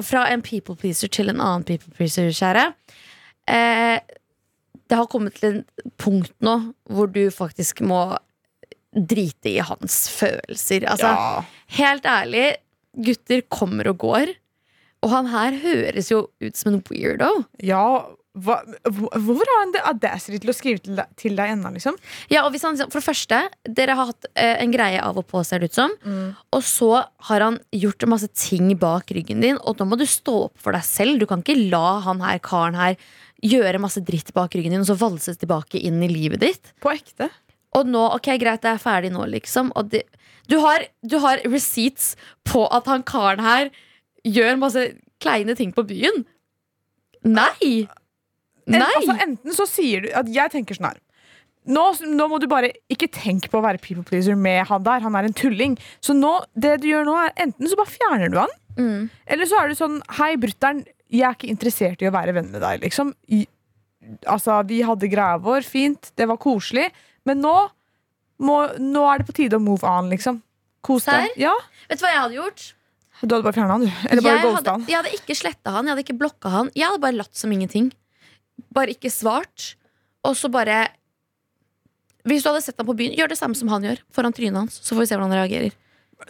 [SPEAKER 3] fra en people pleaser til en annen people pleaser, kjære eh, Det har kommet til en punkt nå hvor du faktisk må drite i hans følelser. Altså, Helt ærlig, gutter kommer og går. Og han her høres jo ut som en weirdo.
[SPEAKER 2] Ja, hva, hvor- hvorfor har han det audacity til å skrive til deg, til deg ennå, liksom?
[SPEAKER 3] Ja, og hvis han, for det første, dere har hatt eh, en greie av og på, ser det ut som.
[SPEAKER 2] Mm.
[SPEAKER 3] Og så har han gjort masse ting bak ryggen din, og da må du stå opp for deg selv. Du kan ikke la han her karen her gjøre masse dritt bak ryggen din, og så valses tilbake inn i livet ditt.
[SPEAKER 2] På ekte.
[SPEAKER 3] Og nå, ok, greit, det er ferdig nå, liksom. Og det, du, har, du har receipts på at han karen her gjør masse kleine ting på byen. Nei!
[SPEAKER 2] En,
[SPEAKER 3] Nei!
[SPEAKER 2] altså, enten så sier du at jeg tenker sånn her nå, nå må du bare ikke tenke på å være people pleaser med han der. Han er en tulling. Så nå, det du gjør nå, er enten så bare fjerner du han,
[SPEAKER 3] Mm.
[SPEAKER 2] Eller så er det sånn Hei, brutter'n, jeg er ikke interessert i å være venn med deg, liksom. I, altså, vi hadde greia vår, fint, det var koselig, men nå må, Nå er det på tide å move on, liksom. Kos
[SPEAKER 3] Serr?
[SPEAKER 2] deg. Ja,
[SPEAKER 3] Vet du hva jeg hadde gjort?
[SPEAKER 2] du hadde bare fjerna han, du. Eller bare
[SPEAKER 3] jeg,
[SPEAKER 2] ghosta
[SPEAKER 3] hadde,
[SPEAKER 2] han.
[SPEAKER 3] jeg hadde ikke sletta han, jeg hadde ikke blokka han. Jeg hadde bare latt som ingenting. Bare ikke svart. Og så bare Hvis du hadde sett ham på byen, gjør det samme som han gjør. Foran trynet hans. Så får vi se hvordan han reagerer.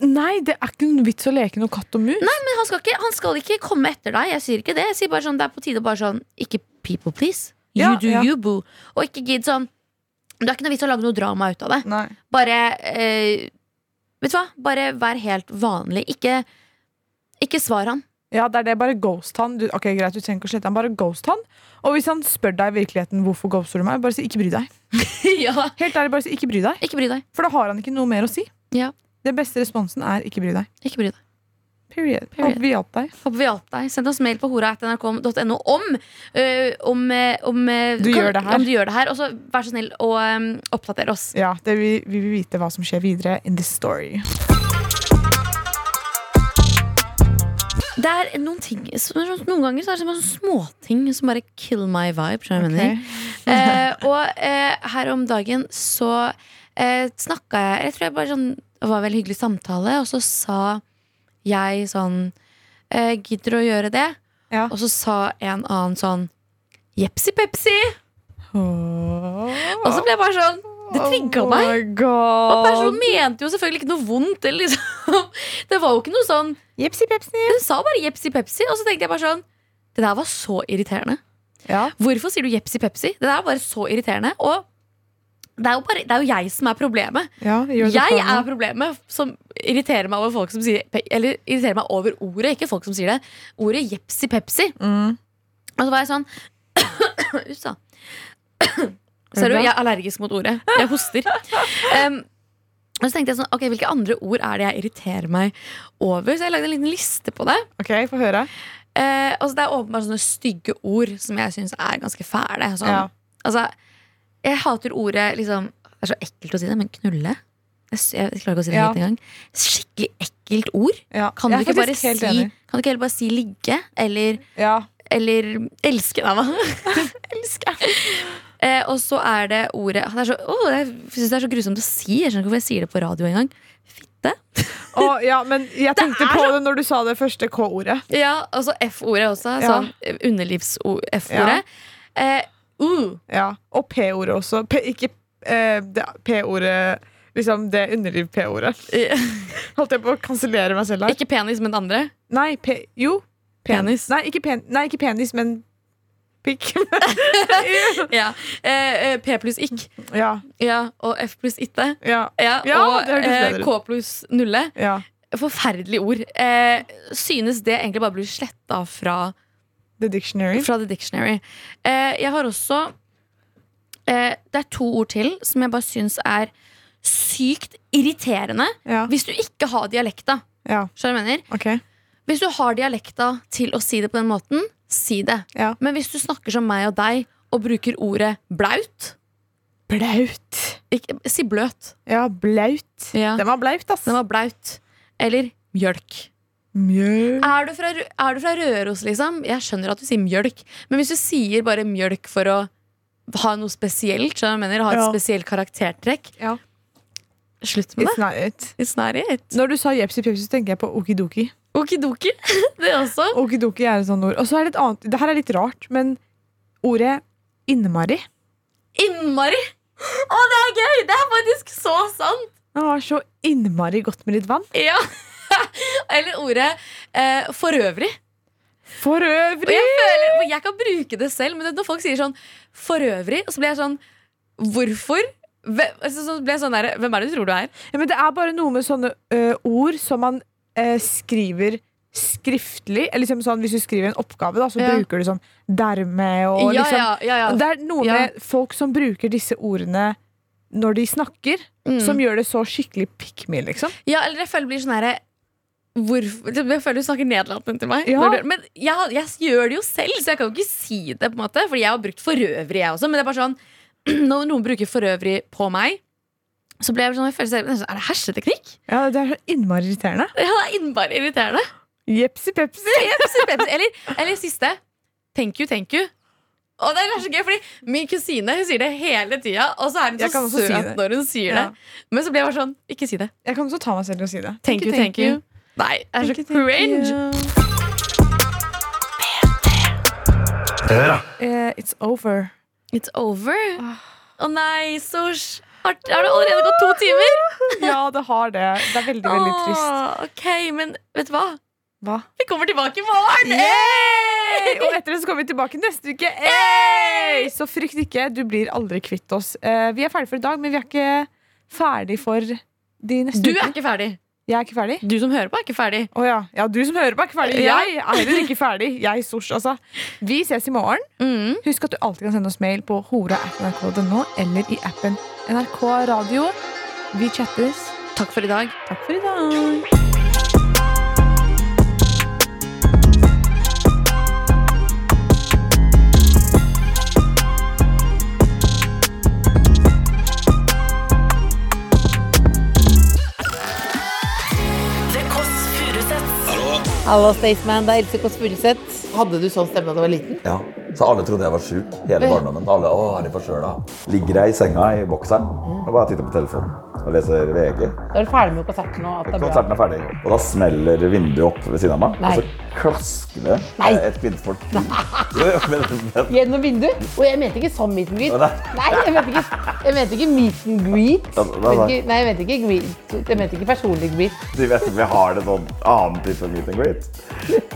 [SPEAKER 2] Nei, det er ikke noen vits å leke noe katt og mus.
[SPEAKER 3] Men han skal ikke, han skal ikke komme etter deg. Jeg sier ikke det. Jeg sier bare sånn, Det er på tide å bare sånn Ikke people please. You
[SPEAKER 2] Ja,
[SPEAKER 3] do
[SPEAKER 2] ja.
[SPEAKER 3] you, boo. Og ikke gidd sånn Det er ikke noe vits å lage noe drama ut av det.
[SPEAKER 2] Nei.
[SPEAKER 3] Bare eh, Vet du hva? Bare vær helt vanlig. Ikke, ikke svar han.
[SPEAKER 2] Ja, det er det. Bare ghost han. Du, ok, Greit, du trenger ikke å slette han. Bare ghost han. Og hvis han spør deg i virkeligheten hvorfor ghoster du meg, bare si ikke bry deg.
[SPEAKER 3] ja.
[SPEAKER 2] Helt ærlig, bare si ikke bry deg.
[SPEAKER 3] Ikke bry deg.
[SPEAKER 2] For da har han ikke noe mer å si.
[SPEAKER 3] Ja.
[SPEAKER 2] Den beste responsen er ikke bry deg.
[SPEAKER 3] Ikke bry deg.
[SPEAKER 2] Period.
[SPEAKER 3] Period.
[SPEAKER 2] Håper vi hjalp deg.
[SPEAKER 3] Håper vi hjalp deg. Send oss mail på hora.nrk.no om, eh, om, eh, om, eh,
[SPEAKER 2] Du gjør det her.
[SPEAKER 3] om du gjør det her. Og så vær så snill å eh, oppdatere oss.
[SPEAKER 2] Ja, det vi, vi vil vite hva som skjer videre in this story.
[SPEAKER 3] Det er noen ting som- Noen ganger så er det sånne småting som bare kill my vibe. skjønner du hva jeg mener? Eh, og eh, her om dagen så eh, snakka jeg Jeg tror jeg bare sånn Det var en veldig hyggelig samtale, og så sa jeg sånn eh, Gidder du å gjøre det?
[SPEAKER 2] Ja.
[SPEAKER 3] Og så sa en annen sånn Jepsi pepsi! Og så ble jeg bare sånn Det trigga meg.
[SPEAKER 2] Oh my god.
[SPEAKER 3] Og personen mente jo selvfølgelig ikke noe vondt. Eller liksom. Det var jo ikke noe sånn
[SPEAKER 2] Jepsi pepsi.
[SPEAKER 3] Hun sa bare Jepsi Pepsi, og så tenkte jeg bare sånn Det der var så irriterende.
[SPEAKER 2] Ja.
[SPEAKER 3] Hvorfor sier du Jepsi Pepsi? Det der er bare så irriterende. Og det er jo, bare, det er jo jeg som er problemet.
[SPEAKER 2] Ja, gjør det
[SPEAKER 3] Jeg
[SPEAKER 2] for meg.
[SPEAKER 3] er problemet som irriterer meg over folk som sier pe- Eller irriterer meg over ordet, ikke folk som sier det. Ordet Jepsi Pepsi.
[SPEAKER 2] Mm.
[SPEAKER 3] Og så var jeg sånn Ups, da.
[SPEAKER 2] det
[SPEAKER 3] Ser du,
[SPEAKER 2] bra?
[SPEAKER 3] jeg er allergisk mot ordet. Jeg hoster. Em, og så tenkte jeg sånn, ok, Hvilke andre ord er det jeg irriterer meg over? Så jeg lagde en liten liste på det.
[SPEAKER 2] Ok, få høre.
[SPEAKER 3] Eh, altså Det er åpenbart sånne stygge ord som jeg syns er ganske fæle. Sånn.
[SPEAKER 2] Ja.
[SPEAKER 3] Altså, jeg hater ordet liksom Det er så ekkelt å si det, men knulle? Jeg, s- jeg klarer ikke å si det
[SPEAKER 2] Ja.
[SPEAKER 3] helt engang. Skikkelig ekkelt ord.
[SPEAKER 2] Ja.
[SPEAKER 3] Kan du,
[SPEAKER 2] jeg er
[SPEAKER 3] ikke bare
[SPEAKER 2] faktisk helt
[SPEAKER 3] si,
[SPEAKER 2] enig.
[SPEAKER 3] kan du ikke heller bare si ligge? Eller
[SPEAKER 2] Ja.
[SPEAKER 3] eller elske deg, hva? elske. Eh, og så er det ordet det er så, åh, Jeg syns det er så grusomt å si. Jeg skjønner ikke hvorfor jeg sier det på radio engang. Fitte.
[SPEAKER 2] Å, ja, men jeg tenkte på det når du sa det første K-ordet.
[SPEAKER 3] Ja, og så F-ordet også.
[SPEAKER 2] Ja.
[SPEAKER 3] Sånn underlivs-F-ordet. Eh, uh,
[SPEAKER 2] Ja. Og P-ordet også. P ikke eh, det P-ordet Liksom det underliv-P-ordet.
[SPEAKER 3] eh,
[SPEAKER 2] Holdt jeg på å kansellere meg selv her?
[SPEAKER 3] ikke penis, men det andre.
[SPEAKER 2] Nei, P... Jo. Pen-
[SPEAKER 3] Penis.
[SPEAKER 2] Nei, ikke, pen nei, ikke penis, men pikk.
[SPEAKER 3] Ja. Eh, eh, P pluss ikk.
[SPEAKER 2] ja.
[SPEAKER 3] Ja, og F pluss itte.
[SPEAKER 2] Ja.
[SPEAKER 3] Ja,
[SPEAKER 2] Ja,
[SPEAKER 3] og
[SPEAKER 2] det hørtes
[SPEAKER 3] eh,
[SPEAKER 2] bedre ut.
[SPEAKER 3] K pluss nulle.
[SPEAKER 2] Ja.
[SPEAKER 3] Forferdelige ord. Eh, synes det egentlig bare blir sletta fra
[SPEAKER 2] The Dictionary.
[SPEAKER 3] Fra The Dictionary. Eh, jeg har også eh, Det er to ord til som jeg bare syns er sykt irriterende
[SPEAKER 2] Ja.
[SPEAKER 3] hvis du ikke har dialekta.
[SPEAKER 2] ja.
[SPEAKER 3] Skjønner du hva jeg mener?
[SPEAKER 2] Ok.
[SPEAKER 3] Hvis du har dialekta til å si det på den måten, si det.
[SPEAKER 2] Ja.
[SPEAKER 3] Men hvis du snakker som meg og deg og bruker ordet blaut
[SPEAKER 2] Blaut.
[SPEAKER 3] ikke, Si bløt.
[SPEAKER 2] Ja, blaut.
[SPEAKER 3] Ja.
[SPEAKER 2] Den var blaut, ass.
[SPEAKER 3] Den var blaut. Eller mjølk.
[SPEAKER 2] Mjø.
[SPEAKER 3] Er du, fra, Rø- er du fra Røros, liksom? Jeg skjønner at du sier mjølk, men hvis du sier bare mjølk for å ha noe spesielt, skjønner du hva jeg mener, ha et
[SPEAKER 2] Ja.
[SPEAKER 3] spesielt karaktertrekk,
[SPEAKER 2] Ja.
[SPEAKER 3] slutt med det.
[SPEAKER 2] It's not it.
[SPEAKER 3] It's not it.
[SPEAKER 2] Når du sa jepsi pepsi, så tenker jeg på okidoki.
[SPEAKER 3] Okidoki, det også.
[SPEAKER 2] Okidoki er et sånt ord. Og så er det et annet Det her er litt rart, men ordet innmari
[SPEAKER 3] Innmari! Å, det er gøy! Det er faktisk så sant!
[SPEAKER 2] Det var så innmari godt med litt vann.
[SPEAKER 3] Ja. Eller ordet eh, for øvrig.
[SPEAKER 2] For
[SPEAKER 3] Og
[SPEAKER 2] øvrig!
[SPEAKER 3] jeg føler, for jeg kan bruke det selv, men når folk sier sånn for øvrig, så blir jeg sånn hvorfor? Hvem, altså, så blir jeg sånn der, hvem er det du tror du er?
[SPEAKER 2] Ja, men det er bare noe med sånne ø, ord som man ø, skriver skriftlig. Eller liksom sånn, hvis du skriver en oppgave, da, så
[SPEAKER 3] Ja.
[SPEAKER 2] bruker du sånn dermed og
[SPEAKER 3] ja,
[SPEAKER 2] liksom
[SPEAKER 3] ja, ja, ja.
[SPEAKER 2] Det er noe
[SPEAKER 3] Ja.
[SPEAKER 2] med folk som bruker disse ordene når de snakker,
[SPEAKER 3] Mm.
[SPEAKER 2] som gjør det så skikkelig pick me, liksom.
[SPEAKER 3] Ja, eller jeg føler det blir sånn herre Hvorfor? Jeg føler du snakker nederlandsk til meg.
[SPEAKER 2] Ja.
[SPEAKER 3] Når du- Men jeg, jeg gjør det jo selv, så jeg kan jo ikke si det. på en måte Fordi jeg har brukt for øvrig, jeg også. Men det er bare sånn når noen bruker for øvrig på meg, så blir jeg sånn, jeg føler selv, nesten, Er det herseteknikk?
[SPEAKER 2] Ja, Det er så innmari irriterende.
[SPEAKER 3] Ja, det er innmari irriterende.
[SPEAKER 2] Jepsi pepsi!
[SPEAKER 3] Pepsi, Pepsi. Eller, eller siste. Thank you, thank you. Og det er så gøy, fordi Min kusine hun sier det hele tida, og så er hun
[SPEAKER 2] Jeg kan
[SPEAKER 3] så
[SPEAKER 2] også si
[SPEAKER 3] søt
[SPEAKER 2] det.
[SPEAKER 3] når hun sier
[SPEAKER 2] Ja.
[SPEAKER 3] det. Men så blir jeg bare sånn Ikke si det.
[SPEAKER 2] Jeg kan også ta meg selv i å si det.
[SPEAKER 3] Thank, you, thank you. Nei, det er så
[SPEAKER 2] Thank you, thank
[SPEAKER 3] cringe.
[SPEAKER 2] you.
[SPEAKER 4] Hør, da.
[SPEAKER 2] Eh, it's over.
[SPEAKER 3] It's over. Å nei, Sosh. Har, har det allerede gått to timer?
[SPEAKER 2] Ja, det har det. Det er veldig, veldig trist.
[SPEAKER 3] Åh, ok, men vet du hva?
[SPEAKER 2] Hva?
[SPEAKER 3] Vi kommer tilbake i morgen!
[SPEAKER 2] Yay! Og etter det så kommer vi tilbake neste uke. Yay! Så frykt ikke, du blir aldri kvitt oss. Eh, vi er ferdig for i dag, men vi er ikke ferdig for de neste
[SPEAKER 3] Du er
[SPEAKER 2] ukene.
[SPEAKER 3] ikke ferdig.
[SPEAKER 2] Jeg er ikke ferdig.
[SPEAKER 3] Du som hører på, er ikke ferdig.
[SPEAKER 2] Å ja. ja, du som hører på er ikke ferdig.
[SPEAKER 3] Ja.
[SPEAKER 2] Jeg er heller ikke ferdig. Jeg er sors, altså. Vi ses i morgen.
[SPEAKER 3] Mm.
[SPEAKER 2] Husk at du alltid kan sende oss mail på hora.nrk.no eller i appen NRK Radio. Vi chattes.
[SPEAKER 3] Takk for i dag.
[SPEAKER 2] Takk for i dag.
[SPEAKER 5] Hallo, Staysman. Det er Else Kåss Furuseth. Hadde du sånn stemme da du var liten?
[SPEAKER 6] Ja. Så alle trodde jeg var sjuk hele barndommen. Alle, å, er de forkjøla? Ligger jeg i senga i bokseren og bare titter på telefonen og leser VG.
[SPEAKER 5] Da er du ferdig med konserten altså. og at det er bra.
[SPEAKER 6] Konserten er ferdig, og da smeller vinduet opp ved siden av meg.
[SPEAKER 5] Nei.
[SPEAKER 6] Og så klasker det
[SPEAKER 5] Nei.
[SPEAKER 6] et kvinnfolk. Jo, jo, men, men,
[SPEAKER 5] Gjennom vinduet? Og jeg mente ikke sånn meet and greet.
[SPEAKER 6] Nei.
[SPEAKER 5] Nei, jeg mente ikke, jeg mente ikke meet and greet. Jeg
[SPEAKER 6] Ja, nei,
[SPEAKER 5] mente
[SPEAKER 6] nei.
[SPEAKER 5] ikke, nei, jeg mente ikke greet. Jeg mente ikke personlig greet.
[SPEAKER 6] de vet ikke om jeg har det sånn annen type meet and greet.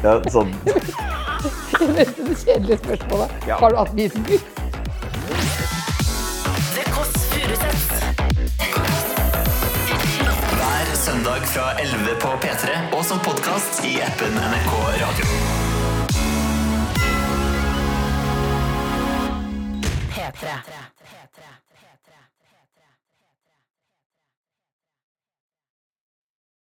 [SPEAKER 6] Ja, sånn.
[SPEAKER 5] Jeg mente det kjedelige spørsmålet.
[SPEAKER 6] Ja.
[SPEAKER 5] Har du hatt meet and greet?
[SPEAKER 7] Hver søndag fra 11 på P3 og som podkast i appen NRK Radio. P3.